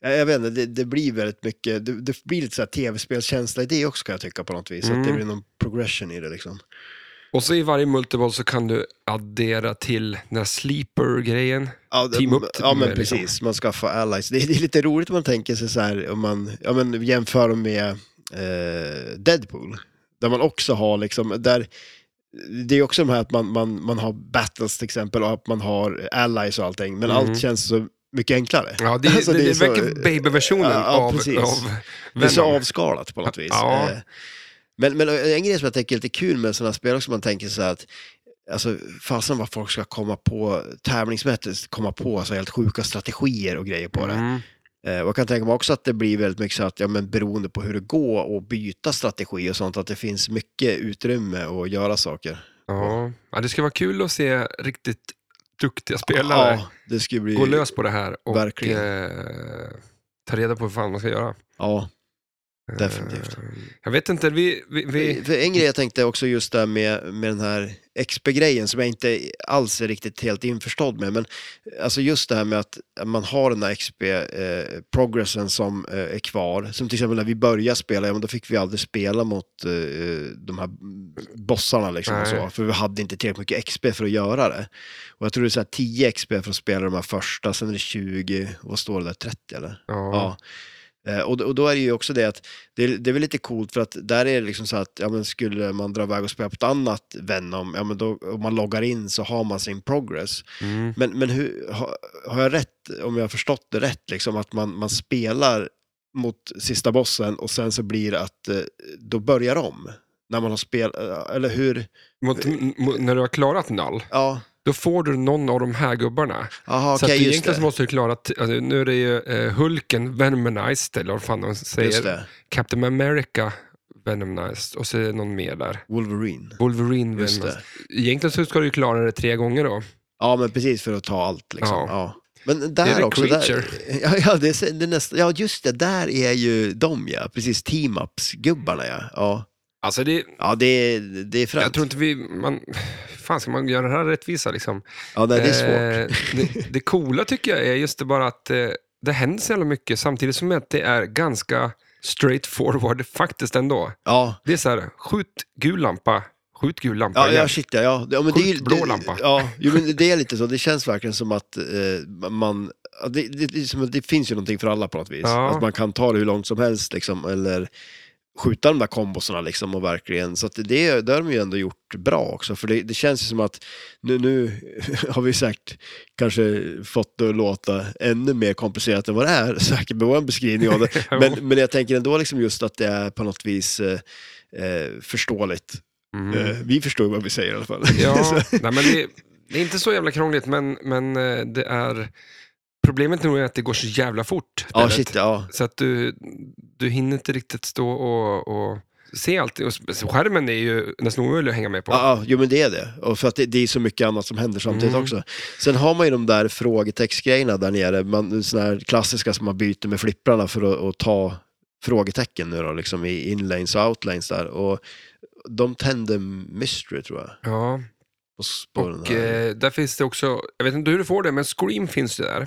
B: jag jag vet inte, det, det blir väldigt mycket, det, det blir lite så här tv-spelskänsla i det också kan jag tycka på något vis. Att det
A: Mm.
B: blir någon progression i det liksom.
A: och så i varje multiboll så kan du addera till den här sleeper-grejen.
B: Ja, det-
A: Team up
B: ja men
A: med,
B: precis,
A: liksom.
B: man skaffar allies. Det, det är lite roligt om man tänker sig så här, om man ja, men jämför dem med eh, Deadpool. Där man också har liksom, där, det är också de här att man, man, man har battles till exempel och att man har allies och allting, men
A: Mm.
B: allt känns så mycket enklare.
A: Ja, det,
B: Alltså,
A: det,
B: det
A: det,
B: är så-
A: verkar baby-versionen
B: Ja, ja,
A: av,
B: precis.
A: av
B: Det är så
A: Venom.
B: avskalat på något vis.
A: Ja.
B: Eh, Men, men en grej som jag tänker är lite kul med sådana spel också, man tänker så här att Alltså fasen vad folk ska komma på tävlingsmässigt, komma på alltså, helt sjuka strategier och grejer på det.
A: Mm.
B: Eh, och jag kan tänka mig också att det blir väldigt mycket så att, ja men beroende på hur det går och byta strategi och sånt, att det finns mycket utrymme att göra saker.
A: Ja. ja, det ska vara kul att se riktigt duktiga spelare
B: Ja, det skulle bli...
A: gå lös på det här och
B: Verkligen.
A: eh, ta reda på vad fan man ska göra.
B: Ja, definitivt.
A: Eh, jag vet inte, vi... vi, vi
B: För en grej jag tänkte också just där med, med den här XP-grejen som jag inte alls är riktigt helt införstådd med. Men alltså just det här med att man har den här XP-progressen som eh, är kvar. Som till exempel när vi började spela, ja men då fick vi aldrig spela mot eh, de här bossarna liksom och så.
A: Nej.
B: För vi hade inte tillräckligt mycket XP för att göra det. Och jag tror det är så här 10 XP för att spela de här första, sen är det 20, vad står det där, 30 eller?
A: ja.
B: Ja. Eh, Och, då- och då är det ju också det att det, är- det är väl lite coolt för att där är det liksom så att ja, men skulle man dra iväg och spela på ett annat Venom, ja men då om man loggar in så har man sin progress.
A: Mm.
B: Men, men hur, har, har jag rätt, om jag har förstått det rätt, liksom att man, man spelar mot sista bossen och sen så blir det att eh, då börjar om. När man har spel, eh, eller hur?
A: Mot, m- mot, när du har klarat noll,
B: Ja,
A: då får du någon av de här gubbarna.
B: aha,
A: så att
B: okej,
A: du
B: just
A: egentligen
B: det.
A: så måste du klara... T- alltså, nu är det ju eh, Hulken Venomized, eller vad fan de
B: Just
A: säger.
B: det,
A: Captain America Venomized, och så är det någon mer där.
B: Wolverine.
A: Wolverine
B: Just
A: Venomized.
B: det.
A: Egentligen så ska du ju klara det tre gånger då.
B: Ja, men precis för att ta allt liksom.
A: Ja.
B: Ja. Men där
A: Det är det
B: också, där,
A: Creature.
B: ja, ja, det är, det är nästa, ja just det, där är ju de ja, precis, team-ups-gubbarna ja. Ja,
A: Alltså det,
B: ja det, är- det är fränt.
A: Jag tror inte vi... Man, fan, ska man göra det här rättvisa liksom?
B: Ja, nej, det är svårt.
A: Eh, det, det coola tycker jag är just det bara att eh, det händer så jävla mycket samtidigt som att det är ganska straight forward faktiskt ändå.
B: Ja,
A: Det är så här, skjut gul lampa, skjut gul lampa
B: ja,
A: igen.
B: ja shit ja. ja. ja men det, är ju-
A: Sjukt blå
B: det-
A: lampa.
B: Ja, jo, men det är lite så, det känns verkligen som att eh, man, ja, det, det, det, är som att det finns ju någonting för alla på något vis.
A: Ja.
B: Att man kan ta det hur långt som helst liksom, eller skjuta de där kombosarna liksom och verkligen, så att det, det har de ju ändå gjort bra också, för det, det känns ju som att nu, nu har vi säkert kanske fått det att låta ännu mer komplicerat än vad det är, säkert med vår beskrivning av det, men, men jag tänker ändå liksom just att det är på något vis eh, eh, förståeligt. Eh, vi förstår vad vi säger i alla fall. Så-
A: Mm. Ja, nej, men det, det är inte så jävla krångligt, men, men eh, det är... Problemet nog är att det går så jävla fort.
B: ja,
A: spelet.
B: shit, ja.
A: Så att du, du hinner inte riktigt stå och, och se allt. Och s- skärmen är ju nästan omöjlig att hänga med på.
B: Ja, ja, jo men det är det. Och för att det, det är så mycket annat som händer samtidigt
A: Mm.
B: också. Sen har man ju de där frågetextgrejerna där nere, man, såna här klassiska som man byter med flipprarna för att, att ta frågetecken nu då, liksom i inlanes och outlanes där. Och de tände mystery tror jag.
A: Ja,
B: På, s- på den
A: och
B: här.
A: eh, där finns det också, jag vet inte hur du får det, men Scream finns ju där.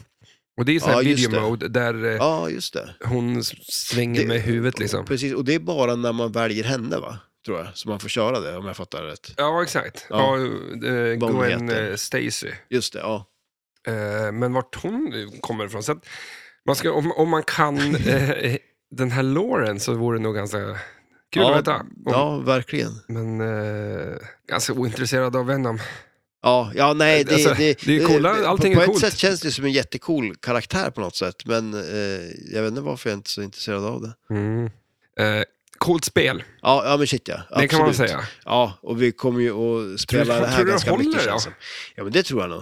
A: Och det är ju sån här
B: Ja, just
A: video
B: det.
A: mode där eh,
B: ja, just det.
A: hon s- svänger
B: Det-
A: med huvudet liksom.
B: Precis, och det är bara när man väljer henne va? Tror jag, så man får köra det om jag fattar rätt.
A: Ja, exakt. Ja.
B: Ja.
A: eh,
B: Vad hon
A: Gwen
B: heter.
A: eh, Stacy.
B: Just det, ja.
A: Eh, men vart hon kommer ifrån. Så att man ska, om, om man kan eh, den här Lauren så vore det nog ganska kul
B: ja,
A: att veta. Om,
B: Ja, verkligen.
A: Men eh, ganska ointresserad av Venom.
B: Ja, ja nej, det,
A: Alltså,
B: det,
A: det är ju coola,
B: på-
A: allting är
B: På ett
A: coolt.
B: sätt känns det som en jättecool karaktär på något sätt, men eh, jag vet inte varför jag är inte så intresserad av det.
A: Mm. Eh, coolt spel,
B: Ja, ja men shit ja.
A: det kan man
B: absolut.
A: säga.
B: Ja, och vi kommer ju att spela
A: Tror-
B: det här
A: tror du det
B: ganska
A: håller,
B: mycket
A: ja?
B: känns det som. Ja, men det tror jag nog.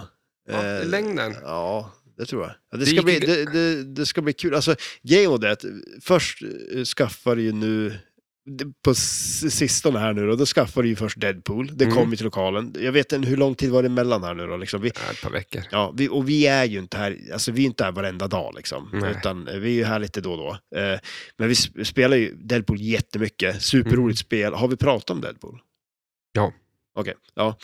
A: Ja, i
B: Eh,
A: längden.
B: Ja, det tror jag. Ja, det,
A: Det
B: ska
A: gick
B: bli,
A: ju-
B: det, det, det ska bli kul. Alltså, grejen var det att först eh, skaffar ju nu, det- på s- sistone här nu då, då skaffar du ju först Deadpool. Det
A: Mm.
B: kom ju till lokalen. Jag vet inte hur lång tid var det emellan här nu då. Liksom. Vi,
A: Ja, ett par veckor.
B: Ja, vi, och vi är ju inte här, alltså vi är inte här varenda dag liksom.
A: Nej.
B: Utan eh, vi är ju här lite då och då. Eh, men vi sp- spelar ju Deadpool jättemycket, superroligt spel. Har vi pratat om Deadpool?
A: Mm. Ja.
B: Okej, ja.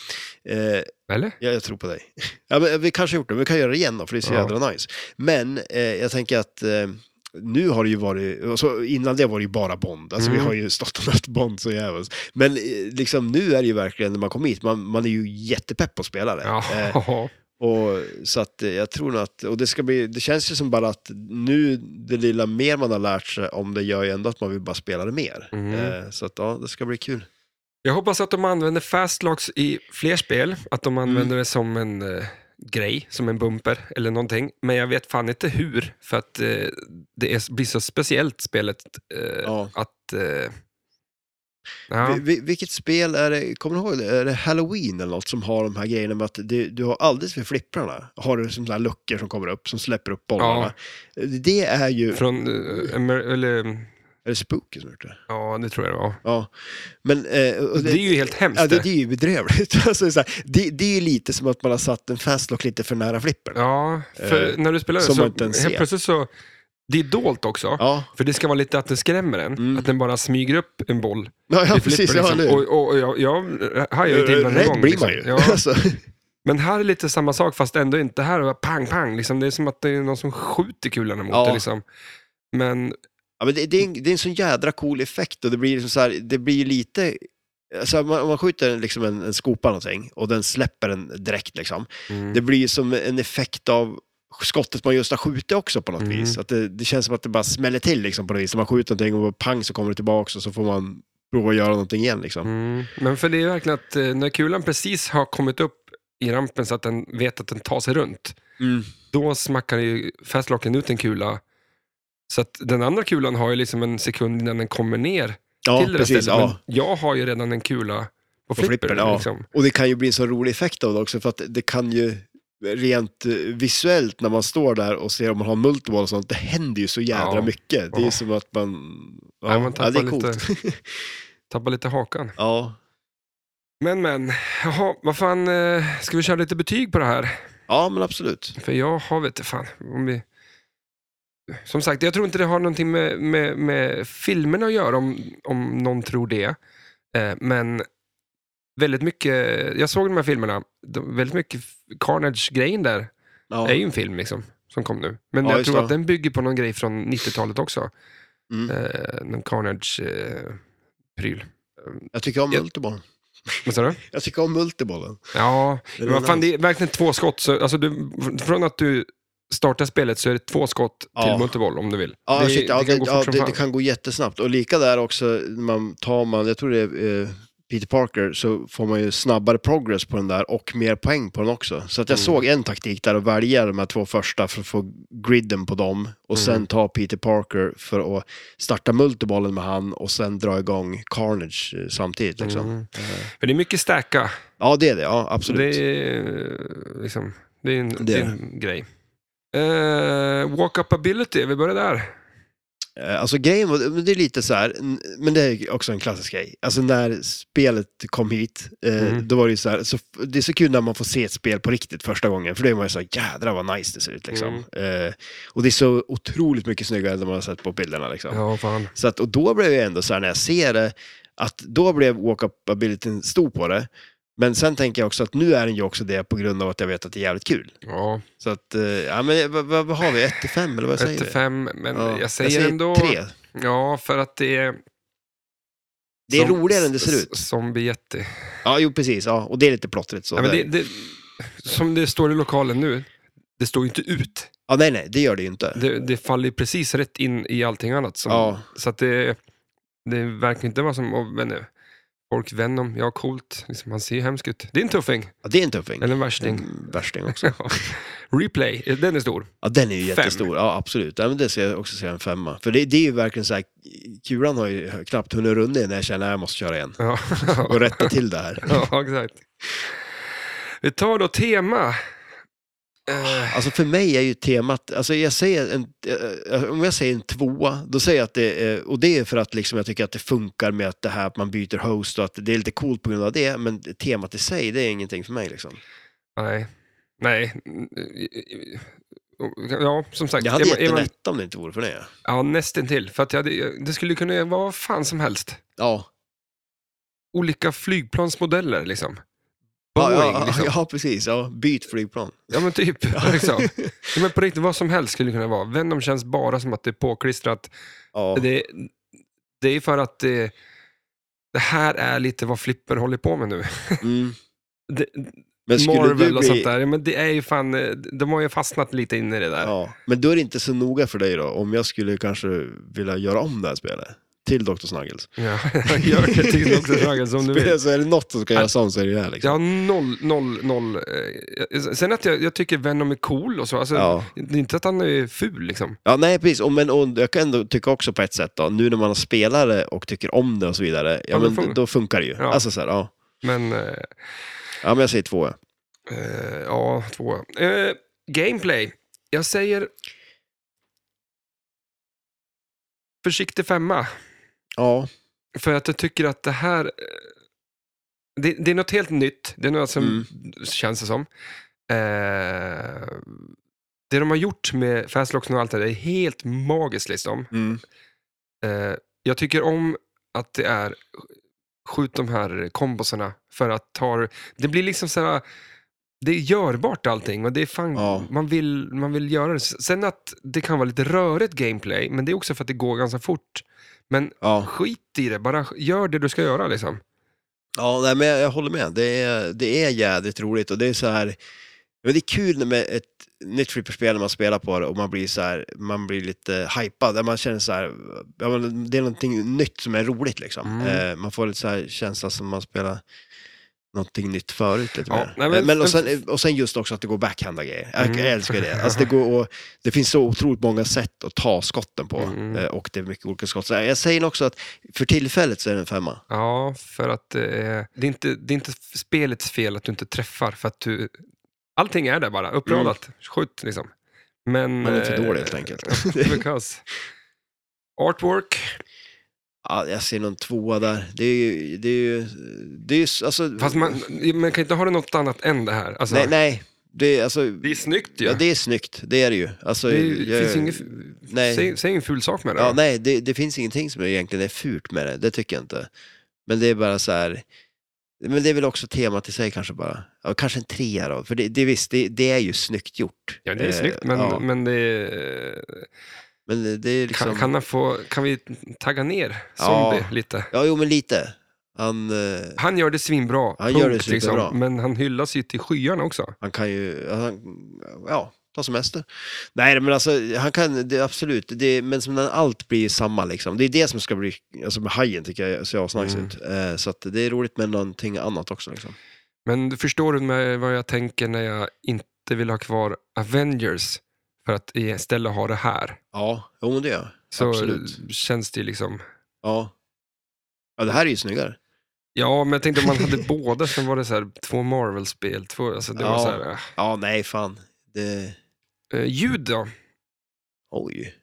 B: Eh,
A: Eller?
B: jag, jag tror på dig. ja, men eh, vi kanske har gjort det, men vi kan göra det igen då, för det är så
A: Ja.
B: jädra nice. Men eh, jag tänker att eh, nu har det ju varit, alltså, innan det var det ju bara Bond, alltså
A: Mm.
B: vi har ju stått och mött Bond så jävligt. Men eh, liksom nu är det ju verkligen, när man kommer hit, man, man är ju jättepepp på att spela det.
A: Ja.
B: Eh, och, så att eh, jag tror nog att, och det ska bli, det känns ju som bara att nu, det lilla mer man har lärt sig om det gör ju ändå att man vill bara spela det mer.
A: Mm.
B: Eh, så att ja, det ska bli kul.
A: Jag hoppas att de använder fastlocks i fler spel, att de använder
B: Mm.
A: det som en eh, grej, som en bumper eller någonting. Men jag vet fan inte hur, för att eh, det är, blir så speciellt spelet eh,
B: Ja.
A: att... Eh, ja.
B: Vi, vi, vilket spel är det, kommer du ihåg det? Är det Halloween eller något som har de här grejerna med att det, du har alldeles vid flipprarna, har du sådana här luckor som kommer upp, som släpper upp bollarna. Det är ju,
A: Från, eh, Amer- eller,
B: är det Spooky som har gjort det?
A: ja, det tror jag det var.
B: Ja. Men, eh, och
A: Det är ju helt hemskt.
B: Ja, det,
A: det.
B: det är ju bedrövligt. Alltså, det, är så här, det, det är ju lite som att man har satt en fastlock lite för nära flippern.
A: Ja, för
B: Eh,
A: när du spelar det
B: som
A: så
B: man inte ens
A: helt
B: ser.
A: plötsligt så, det är dolt också.
B: Ja,
A: För det ska vara lite att den skrämmer en,
B: Mm.
A: att den bara smyger upp en boll.
B: ja, ja
A: i flipper,
B: precis. Ja,
A: liksom.
B: nu.
A: Och, och, och jag, jag hajar ju till varje
B: Rädd
A: gång.
B: blir
A: liksom.
B: man ju.
A: Ja,
B: Alltså,
A: men här är lite samma sak, fast ändå inte. Här är pang, pang. Liksom. Det är som att det är någon som skjuter kulorna mot
B: Ja.
A: dig. Liksom. Men
B: ja, men det, det, är en, det är en sån jädra cool effekt och det blir liksom så här, det blir lite... Alltså man, om man skjuter liksom en, en skopa någonting och den släpper en direkt liksom.
A: mm,
B: Det blir som en effekt av skottet man just har skjutit också på något
A: Mm.
B: vis. Att det, det känns som att det bara smäller till liksom på något vis. När man skjuter någonting och bara pang så kommer det tillbaka och så får man prova att göra någonting igen liksom.
A: mm, men för det är verkligen att eh, när kulan precis har kommit upp i rampen så att den vet att den tar sig runt,
B: Mm.
A: då smackar ju fastlocken ut en kula. Så att den andra kulan har ju liksom en sekund innan den kommer ner
B: Ja,
A: till det där
B: precis.
A: stället.
B: Ja.
A: Men jag har ju redan en kula på,
B: På
A: flippern.
B: flippern, ja.
A: liksom.
B: Och det kan ju bli en så rolig effekt av det också, för att det kan ju rent eh, visuellt när man står där och ser om man har multiball och sånt, det händer ju så jädra
A: Ja.
B: mycket. Det är ju
A: Ja.
B: som att man... Ja,
A: Ja, man
B: ja, det är
A: tappar
B: coolt.
A: Tappar lite hakan.
B: ja.
A: Men men, jaha, vad fan, eh, ska vi köra lite betyg på det här?
B: ja, men absolut.
A: För jag har vet inte fan om vi... Som sagt, jag tror inte det har någonting med, med, med filmerna att göra om, om någon tror det. Eh, men väldigt mycket, jag såg de här filmerna, de, väldigt mycket Carnage-grejen där
B: Ja.
A: är ju en film liksom, som kom nu. Men
B: Ja,
A: jag
B: just
A: tror
B: det.
A: att den bygger på någon grej från 90-talet också.
B: Mm.
A: Eh, någon eh, Carnage-pryl.
B: Jag tycker om
A: Ja.
B: multibollen.
A: Vad sa du?
B: Jag tycker om multibollen.
A: Ja,
B: Det
A: men vad fan,
B: nice.
A: det är verkligen två skott. Så, alltså, du, från att du startar spelet så är det två skott till
B: Ja.
A: multiboll om du vill.
B: Ja,
A: det,
B: shit, ja,
A: det kan
B: det,
A: gå
B: ja,
A: fort som
B: det, det
A: fan.
B: kan gå jättesnabbt. Och lika där också, när man tar man, jag tror det är eh, Peter Parker, så får man ju snabbare progress på den där och mer poäng på den också. Så att
A: Mm.
B: jag såg en taktik där att välja de här två första för att få griden på dem och
A: Mm.
B: sen ta Peter Parker för att starta multibollen med han och sen dra igång Carnage eh, samtidigt. Liksom.
A: För det är mycket stacka.
B: Ja, det är det. Ja,
A: Mm. Så
B: absolut.
A: det är, eh, liksom, det är en, det. är en grej. Eh, Walk-up ability, vi börjar där.
B: Eh, Alltså grejen var, men det är lite så här, n- men det är också en klassisk grej. Alltså när spelet kom hit, eh,
A: Mm.
B: då var det ju så här, så, f- det är så kul när man får se ett spel på riktigt första gången, för då är man ju så här, jädrar vad nice det ser ut liksom.
A: Mm.
B: Eh, och det är så otroligt mycket snyggare än det man har sett på bilderna liksom.
A: Ja, fan.
B: Så att, och då blev jag ändå så här när jag ser det, att då blev walk-up-abilityn stor på det. Men sen tänker jag också att nu är den ju också det på grund av att jag vet att det är jävligt kul.
A: Ja,
B: Så att, eh, ja men vad, vad, vad har vi, 1 till 5 eller vad säger
A: ett till
B: vi?
A: fem, men
B: Ja,
A: jag, säger ändå...
B: tre.
A: Ja, för att det är...
B: Det är
A: som-
B: roligare än det ser
A: s-
B: ut.
A: Som Bietti.
B: Ja, jo precis. Ja. Och det är lite plottrigt så.
A: Ja, men
B: där.
A: det, det, som det står i lokalen nu, det står ju inte ut.
B: ja, nej, nej, det gör det ju inte.
A: Det, det faller ju precis rätt in i allting annat. Som,
B: Ja.
A: Så att det, det verkar inte vara som, oh, men, eh, folk Venom, ja coolt, liksom, han ser ju hemsk ut. Det är en tuffing,
B: Ja, det är en tuffing.
A: eller en värsting.
B: En värsting också.
A: Replay, eh, den är stor.
B: Ja, den är ju
A: Fem.
B: jättestor. Ja, absolut. Ja, men det ser jag också som en femma. För det, det är ju verkligen så här, kulan har ju knappt hunnit runda när jag känner att jag måste köra igen.
A: Ja,
B: Och rätta till det här.
A: ja exakt. Vi tar då tema. Eh,
B: Alltså för mig är ju temat, alltså jag säger en, eh, om jag säger en tvåa, då säger jag att det är, och det är för att liksom jag tycker att det funkar med att det här att man byter host och att det är lite coolt på grund av det, men temat i sig, det är ingenting för mig liksom.
A: nej. Nej. Mm, eh, Ja, som sagt.
B: Jag hade
A: är man-
B: gett
A: är
B: en
A: man-
B: etta om det inte vore för det.
A: Ja, nästintill. För att jag, hade- det skulle kunna vara vad fan som helst.
B: Ja,
A: Olika flygplansmodeller liksom.
B: Ja,
A: Boeing,
B: ja, ja,
A: liksom.
B: ja, precis. Ja. Byt flygplan.
A: Ja men typ. Liksom. Ja, men på riktigt, vad som helst skulle det kunna vara. Venom känns bara som att det är påklistrat.
B: Ja.
A: Det, det är för att det, det här är lite vad Flipper håller på med nu.
B: Mm.
A: Det,
B: Men skulle du
A: Marvel
B: bli...
A: och sånt där. Ja, men det är ju fan, eh, de har ju fastnat lite in i det där.
B: Ja. Men då är det inte så noga för dig då, om jag skulle kanske vilja göra om det här spelet till Dr. Snuggles.
A: Ja. Gör det till Dr. Dragon som du vill.
B: Spel, så är det något som ska göras om så är det det här
A: Jag
B: liksom.
A: har noll, noll, noll. eh, Sen att jag, jag tycker Venom är cool och så. Alltså,
B: Ja.
A: Det är inte att han är ful liksom.
B: Ja, nej precis. Och, men, och, jag kan ändå tycka också på ett sätt då, nu när man har spelare och tycker om det och så vidare, ja,
A: men
B: men,
A: fun-
B: då funkar det ju.
A: Ja.
B: Alltså så här, ja.
A: Men eh,
B: ja, men jag säger två. ja.
A: Eh, ja, två. Eh, gameplay. Jag säger... Försiktig femma.
B: Ja,
A: För att jag tycker att det här... eh, Det, det är något helt nytt. Det är något som
B: Mm.
A: känns det som. Eh, det de har gjort med Fastlocks och allt det där är helt magiskt. Liksom.
B: mm.
A: Eh, jag tycker om att det är skjut de här kombosarna för att ta det blir liksom så här det är görbart allting och det är fan,
B: Ja.
A: man, vill, man vill göra det. Sen att det kan vara lite rörigt gameplay, men det är också för att det går ganska fort. Men
B: ja.
A: skit i det, bara gör det du ska göra liksom.
B: Ja, nej, men jag, jag håller med. Det är, det är jädrigt roligt och det är så här... Men det är kul när med ett nytt flipperspel när man spelar på det och man blir så här, man blir lite hypad. Där Man känner så här, ja, men det är någonting nytt som är roligt liksom.
A: Mm.
B: Eh, man får lite så här känsla som man spelar någonting nytt förut lite
A: Ja,
B: mer. Eh,
A: nej, men-
B: men, men, och, sen, och sen just också att det går backhanda grejer. Jag,
A: Mm.
B: jag älskar det. Alltså, det, går och, det finns så otroligt många sätt att ta skotten på
A: Mm.
B: eh, och det är mycket olika skott. Så jag säger också att för tillfället så är det en femma.
A: Ja, för att eh, det, är inte, det är inte spelets fel att du inte träffar, för att du... Allting är där bara, uppradat. Skjut liksom. Men...
B: Mm. Man är för
A: eh,
B: dålig helt enkelt.
A: Because. Artwork.
B: Ja, jag ser någon tvåa där. Det är ju... Det är ju, det är ju s- alltså,
A: Fast man, man kan inte ha det något annat än det här. Alltså,
B: Nej, nej. Det är, alltså,
A: Det är snyggt ju.
B: ja, det är snyggt, det är det ju. Alltså,
A: Det är- det
B: jag-
A: finns inget,
B: nej.
A: Säg, säg ingen ful sak med det.
B: ja,
A: då.
B: nej det, det finns ingenting som egentligen är fult med det, det tycker jag inte. Men det är bara så här... Men det är väl också temat i sig kanske bara. Ja, kanske en trea då, för det, det, visst, det, det är ju snyggt gjort.
A: Ja, det är
B: Eh,
A: snyggt, men,
B: ja,
A: men det är,
B: men det- det är liksom...
A: kan, kan, han få, kan vi tagga ner Zombie
B: Ja.
A: lite?
B: Ja, jo men lite. Han, eh,
A: Han gör det svinbra, liksom.
B: Han gör det superbra.
A: men han hyllas ju till skyarna också.
B: alltså, han kan ju... Han, ja, ta semester. Nej, men alltså, han kan, det, absolut, det, men som när allt blir samma liksom. Det är det som ska bli, alltså med hajen tycker jag ser asnice
A: Mm.
B: ut. Eh, så att det är roligt med någonting annat också liksom.
A: Men du förstår du med vad jag tänker när jag inte vill ha kvar Avengers för att istället ha det här?
B: Ja, jo men det gör jag.
A: Så
B: Absolut.
A: känns det ju liksom...
B: Ja. Ja, det här är ju snyggare.
A: Ja, men jag tänkte om man hade båda så var det så här, två Marvel-spel. Två, alltså det var
B: Ja.
A: så här,
B: Ja, nej fan. Det...
A: eh, ljud då?
B: Oj.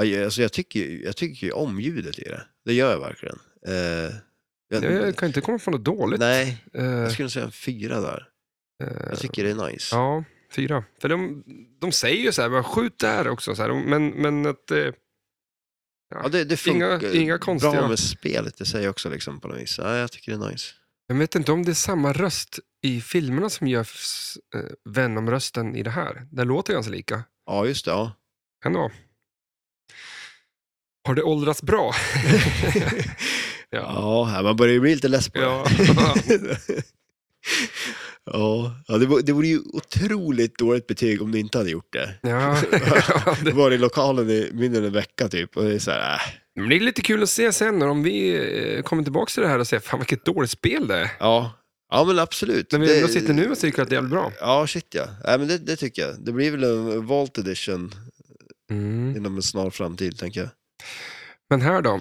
B: Aj, Alltså jag tycker, ju- jag tycker ju om ljudet i det. Det gör jag verkligen. Eh, jag,
A: Jag kan inte komma på något dåligt.
B: nej,
A: Eh,
B: jag skulle säga en fyra där.
A: eh,
B: Jag tycker det är nice.
A: Ja, fyra. För de, de säger ju så här, bara, skjut där också. Så här, men, men att... Eh,
B: Ja, det, det
A: Inga-
B: funkar
A: inga konstiga-
B: bra med spelet, det säger jag också liksom på något vis. Ja, jag tycker det är nice.
A: jag vet inte om det är samma röst i filmerna som gör s- eh, Venom-rösten i det här. Den låter ganska lika.
B: Ja, just det. Ja.
A: Kan det vara. Har det åldrats bra? ja.
B: Ja, här, man börjar ju bli lite less på det.
A: Ja.
B: ja, ja det, vore, det vore ju otroligt dåligt betyg om du inte hade gjort det.
A: Ja.
B: Du var i lokalen i mindre än en vecka typ och det är så här, äh.
A: Men det är lite kul att se sen när om vi eh, kommer tillbaka till det här och säger fan vilket dåligt spel det är.
B: ja. ja, men absolut.
A: När vi
B: Det-
A: ändå sitter nu och tycker att det är jävligt bra.
B: Ja, shit ja. Nej, men det, det tycker jag. Det blir väl en Vault Edition
A: Mm.
B: inom en snar framtid, tänker jag.
A: Men här då,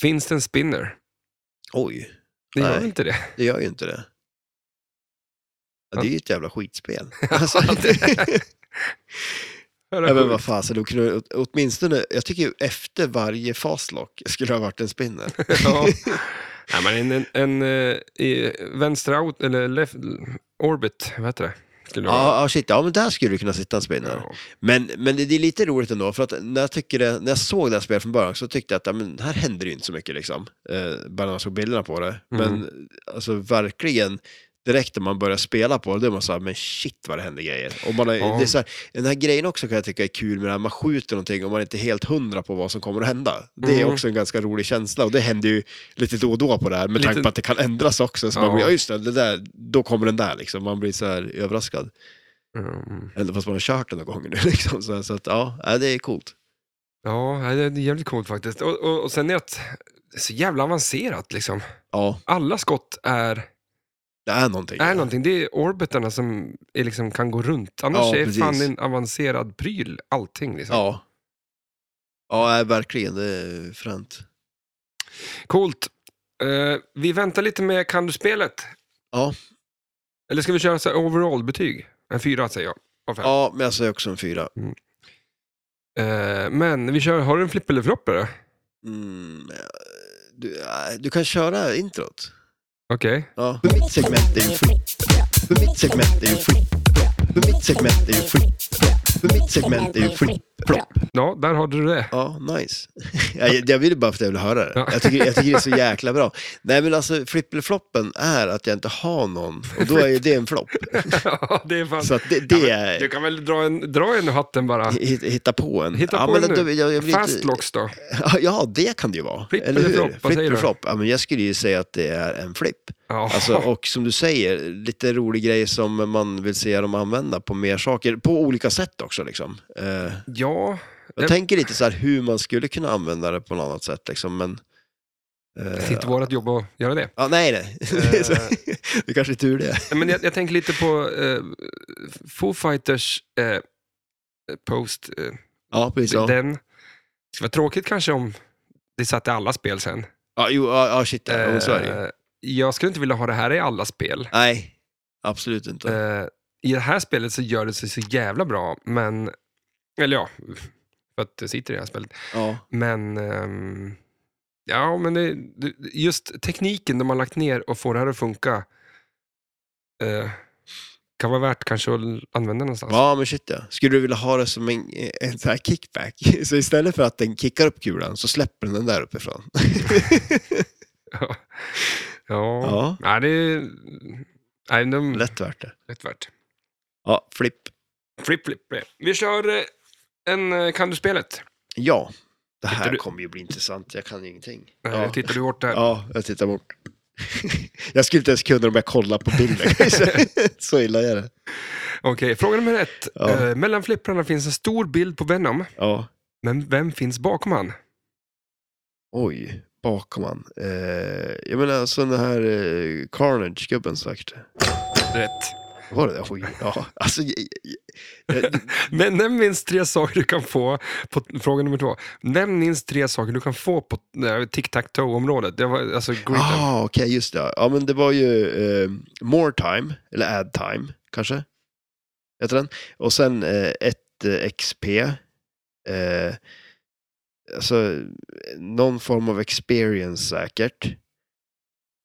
A: finns det en spinner?
B: Oj,
A: Det gör
B: Nej.
A: inte det.
B: det gör ju inte det. Ja, det är ju ett jävla skitspel. Alltså,
A: Hör
B: ja,
A: och
B: men
A: sjukt.
B: vad fasen, de kunde åt- åtminstone, jag tycker ju efter varje fastlock skulle det ha varit en spinner.
A: ja. Nej, men en, en, en eh, i vänstra out, eller left, orbit, vad heter det? Skulle det vara.
B: Ja, ja, shit, ja men där skulle du kunna sitta en spinner.
A: Ja.
B: Men, men det, det är lite roligt ändå, för att när jag, tycker det, när jag såg det här spelet från början så tyckte jag att ja, men, här händer det ju inte så mycket liksom. Eh, bara när man såg bilderna på det.
A: Mm.
B: Men alltså verkligen, direkt när man börjar spela på det, då är man såhär, men shit vad det händer grejer. Och man har,
A: Ja.
B: det är så här, den här grejen också kan jag tycka är kul med det här, man skjuter någonting och man är inte helt hundra på vad som kommer att hända. Det är
A: Mm.
B: också en ganska rolig känsla och det händer ju lite då och då på det här, med
A: Lite-
B: tanke på att det kan ändras också. Så
A: Ja.
B: man blir, ja just det, det där, då kommer den där liksom. Man blir så här överraskad.
A: Mm.
B: Eller fast man har kört den några gånger nu liksom. Så, så att ja, ja, det är coolt.
A: Ja, nej, det är jävligt coolt faktiskt. Och, och, och sen är det att det är så jävla avancerat liksom.
B: Ja,
A: Alla skott är,
B: det är någonting.
A: är någonting. Det är orbitarna som är, liksom, kan gå runt. Annars
B: Ja,
A: är
B: precis.
A: fan en avancerad pryl allting. Liksom.
B: Ja. Ja, ja, verkligen. Det är fränt.
A: Coolt. Eh, vi väntar lite med Kan du-spelet.
B: Ja.
A: Eller ska vi köra så här overall-betyg? En fyra säger jag. Av fem.
B: Ja, men jag säger också en fyra.
A: Eh, men vi kör, har du en flipp eller flopp eller?
B: Mm, eh, du, eh, du kan köra introt.
A: Okej.
B: Ja. För mitt segment är ju fritt. För mitt segment är ju fritt. För mitt segment är ju fritt. För mitt segment är ju fritt. Plopp.
A: Ja, där har du det.
B: Ja, nice. jag, jag ville bara för att jag ville höra det.
A: Ja.
B: Jag, tycker, jag tycker det är så jäkla bra. Nej, men alltså flippelfloppen är att jag inte har någon och då är ju det en flopp.
A: ja, det är fan.
B: Så att det, det är...
A: Du kan väl dra en, dra en ur hatten bara.
B: Hitt- Hitta på en.
A: Hitta
B: ja,
A: på
B: men
A: en
B: då-
A: nu.
B: jag- jag blir inte-
A: Fastlocks då.
B: Ja, det kan det ju vara.
A: Flipp
B: eller
A: eller
B: hur?
A: flopp, vad säger
B: eller
A: du?
B: flopp. Ja, men jag skulle ju säga att det är en flipp.
A: Ja.
B: Alltså, och som du säger, lite rolig grej som man vill se dem använda på mer saker, på olika sätt också. Liksom. Eh,
A: ja.
B: jag
A: Jag-
B: tänker lite så här hur man skulle kunna använda det på något annat sätt. Liksom, men,
A: Det
B: eh,
A: är inte vårt jobb att göra det.
B: ja, nej, nej.
A: Eh.
B: Så- det kanske är tur det.
A: Nej, Men jag, jag tänker lite på eh, Foo Fighters eh, post. Eh,
B: Ja, precis. Ja,
A: Den. Det skulle vara tråkigt kanske om det satt i alla spel sen.
B: ja, jo, ja, ja shit, ja, men så är det ju.
A: Eh, jag skulle inte vilja ha det här i alla spel.
B: Nej, absolut inte.
A: Eh, I det här spelet så gör det sig så jävla bra, men... Eller ja, för att det sitter i det här spelet.
B: Ja.
A: Men... ehm, ja, men det, det, just tekniken de har lagt ner och får det här att funka eh, kan vara värt kanske att använda någonstans.
B: Ja, men shit ja. Skulle du vilja ha det som en, en sån här kickback? Så istället för att den kickar upp kulan så släpper den den där uppifrån.
A: ja.
B: Ja.
A: Nej, det är... Nej, de, lätt.
B: Mm. Lätt värt det.
A: värt.
B: Ja, flipp.
A: Flip, flip, flip. Vi kör eh, en eh, Kan du-spelet.
B: Ja, det
A: Tittar
B: här
A: du-
B: kommer ju bli intressant. Jag kan ju ingenting.
A: Ja.
B: Ja,
A: Eh, Tittar du bort där?
B: ja jag tittar bort. jag skulle inte ens kunna dem om jag kollade på bilden. så illa är det.
A: Okej, fråga nummer ett.
B: Ja.
A: Eh, mellan flipprarna finns en stor bild på Venom,
B: Ja.
A: men vem finns bakom han?
B: Oj, bakom han. Eh, jag menar, alltså den här eh, Carnage-gubben säkert.
A: Rätt.
B: Var det det? Oj, ja. Alltså, jag, jag, jag,
A: Men nämn minst tre saker du kan få på fråga nummer två. Nämn minst tre saker du kan få på eh, tic-tac-toe-området. Det var alltså greet them.
B: ah, okej, just det. Ja, men det var ju eh, More Time, eller Add Time, kanske. Heter den. Och sen eh, 1XP. Eh, alltså, någon form av experience säkert.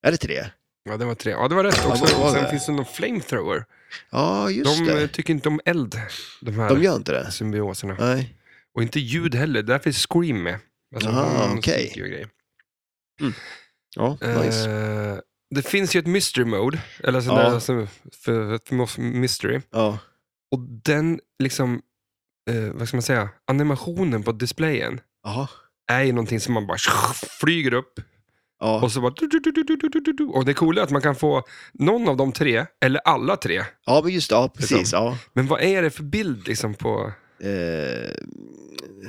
B: Är det tre?
A: Ja, det var tre. Ja, det var rätt
B: Ja,
A: också.
B: vad var
A: Sen
B: det?
A: finns det någon flamethrower.
B: Ja, just
A: De eh,
B: det.
A: tycker inte om eld, de här
B: De gör inte det?
A: symbioserna.
B: Nej.
A: Och inte ljud heller, därför är Scream med.
B: Ah,
A: hon
B: okej.
A: skriker och grejer.
B: Ja, nice.
A: Eh, det finns ju ett mystery mode, eller sån
B: Ja.
A: där, alltså, för, för mystery.
B: Ja.
A: Och den, liksom, eh, vad ska man säga, animationen på displayen
B: Jaha.
A: är ju någonting som man bara flyger upp
B: Ja.
A: och så bara... du- du- du- du- du- du- du- du. Och det coola är att man kan få någon av de tre, eller alla tre.
B: ja, men just det. Ja, precis. Ja.
A: Men vad är det för bild liksom på...
B: Eh,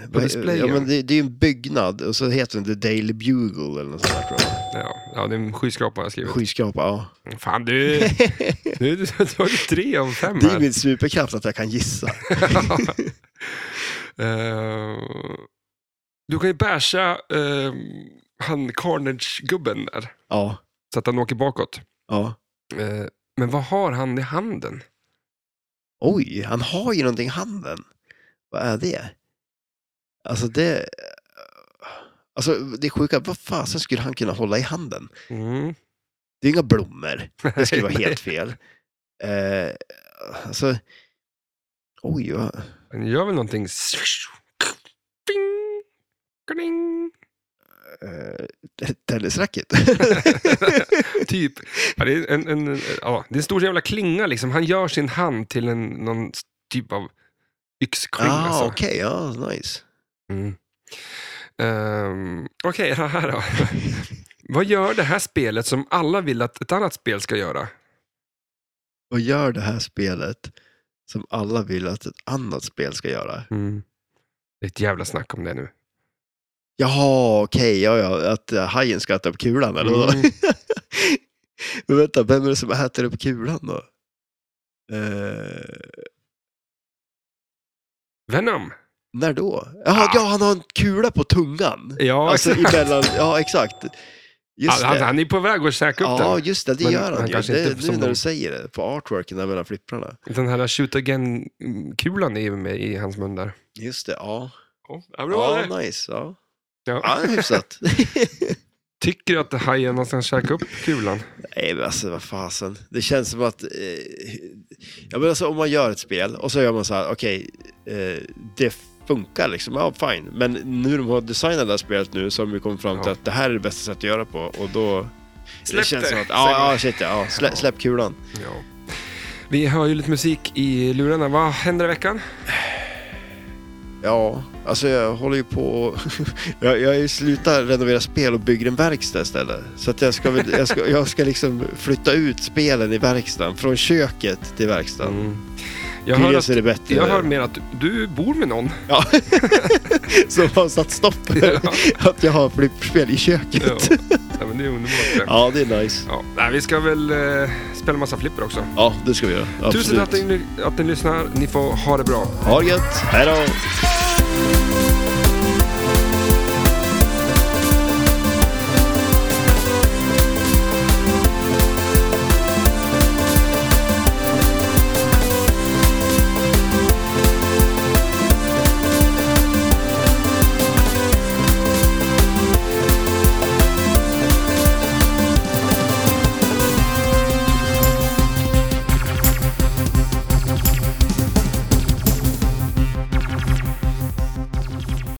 A: På
B: vad-
A: displayen.
B: ja, men det, det är ju en byggnad och så heter den The Daily Bugle eller något sånt där tror jag.
A: Ja, ja det är en skyskrapa jag har skrivit.
B: Skyskrapa, ja.
A: Fan du! Nu du- du har du tre av fem
B: Det är
A: här.
B: min superkraft att jag kan gissa.
A: Eh, du kan ju basha eh, han Carnage-gubben där,
B: Ja,
A: så att han åker bakåt.
B: ja.
A: Eh, men vad har han i handen?
B: Oj, han har ju någonting i handen. Vad är det? Alltså det... Alltså det sjuka, vad fasen skulle han kunna hålla i handen?
A: Mm.
B: Det är inga blommor. Det skulle vara helt fel. Eh, alltså... Oj, vad...
A: Han gör väl någonting... Bing! Kling!
B: Eh, tennisracket.
A: Typ. Ja, det, är en, en, ja, det är en stor jävla klinga liksom. Han gör sin hand till en, någon typ av yxkling.
B: ah,
A: alltså.
B: okej. ja, nice.
A: Mm. Ehm, Okej, det här då. Vad gör det här spelet som alla vill att ett annat spel ska göra?
B: Och gör det här spelet som alla vill att ett annat spel ska göra.
A: Mm. Det är ett jävla snack om det nu.
B: Jaha, okej, ja, ja, att eh, hajen ska äta upp kulan eller vadå?
A: Mm.
B: Men vänta, vem är det som äter upp kulan då? Eh,
A: Venom.
B: när då? Jaha,
A: Ah.
B: ja, han har en kula på tungan.
A: Ja,
B: alltså
A: exakt.
B: emellan, ja exakt. Just
A: han,
B: det.
A: han är på väg att käka upp
B: Ja, just det, det
A: Men
B: gör
A: han
B: han, ju.
A: kanske
B: Det,
A: inte
B: nu
A: som
B: när
A: de-
B: du säger det, på artworken där mellan flipprarna.
A: den. Den här shoot again-kulan är ju med i hans mun där.
B: Just det, ja.
A: Ja, bra
B: Ja,
A: det.
B: nice. Ja,
A: Ja.
B: ja hyfsat.
A: Tycker du att hajen ska käka upp kulan?
B: Nej men alltså vad fasen. Det känns som att, eh, ja men alltså om man gör ett spel och så gör man så här, okej, eh, det funkar liksom, ja fine. Men nu de har designat det här spelet nu så har vi kommit fram till
A: Ja.
B: att det här är det bästa sättet att göra på och då...
A: Släpp
B: känns
A: det,
B: som att,
A: säger
B: ja,
A: man.
B: ja shit ja, ja slä, släpp kulan.
A: Ja. Vi hör ju lite musik i lurarna. Vad händer i veckan?
B: Ja, alltså jag håller ju på och jag, jag har ju slutat renovera spel och bygger en verkstad istället. Så att jag ska, väl- jag ska, jag ska liksom flytta ut spelen i verkstaden, från köket till verkstaden.
A: Mm. Jag
B: Tydligen
A: hör, att,
B: så är det bättre.
A: jag hör mer att du bor med någon.
B: Ja. Som har satt stopp för att jag har flipperspel i köket.
A: Ja.
B: Ja.
A: Ja, men det är underbart. det.
B: det är nice.
A: Ja, nej, vi ska väl eh, spela massa flipper också.
B: Ja, det ska vi göra. Absolut.
A: Tusen tack att ni, att ni lyssnar. Ni får ha det bra.
B: Ha det gött. Hej då.
E: Thank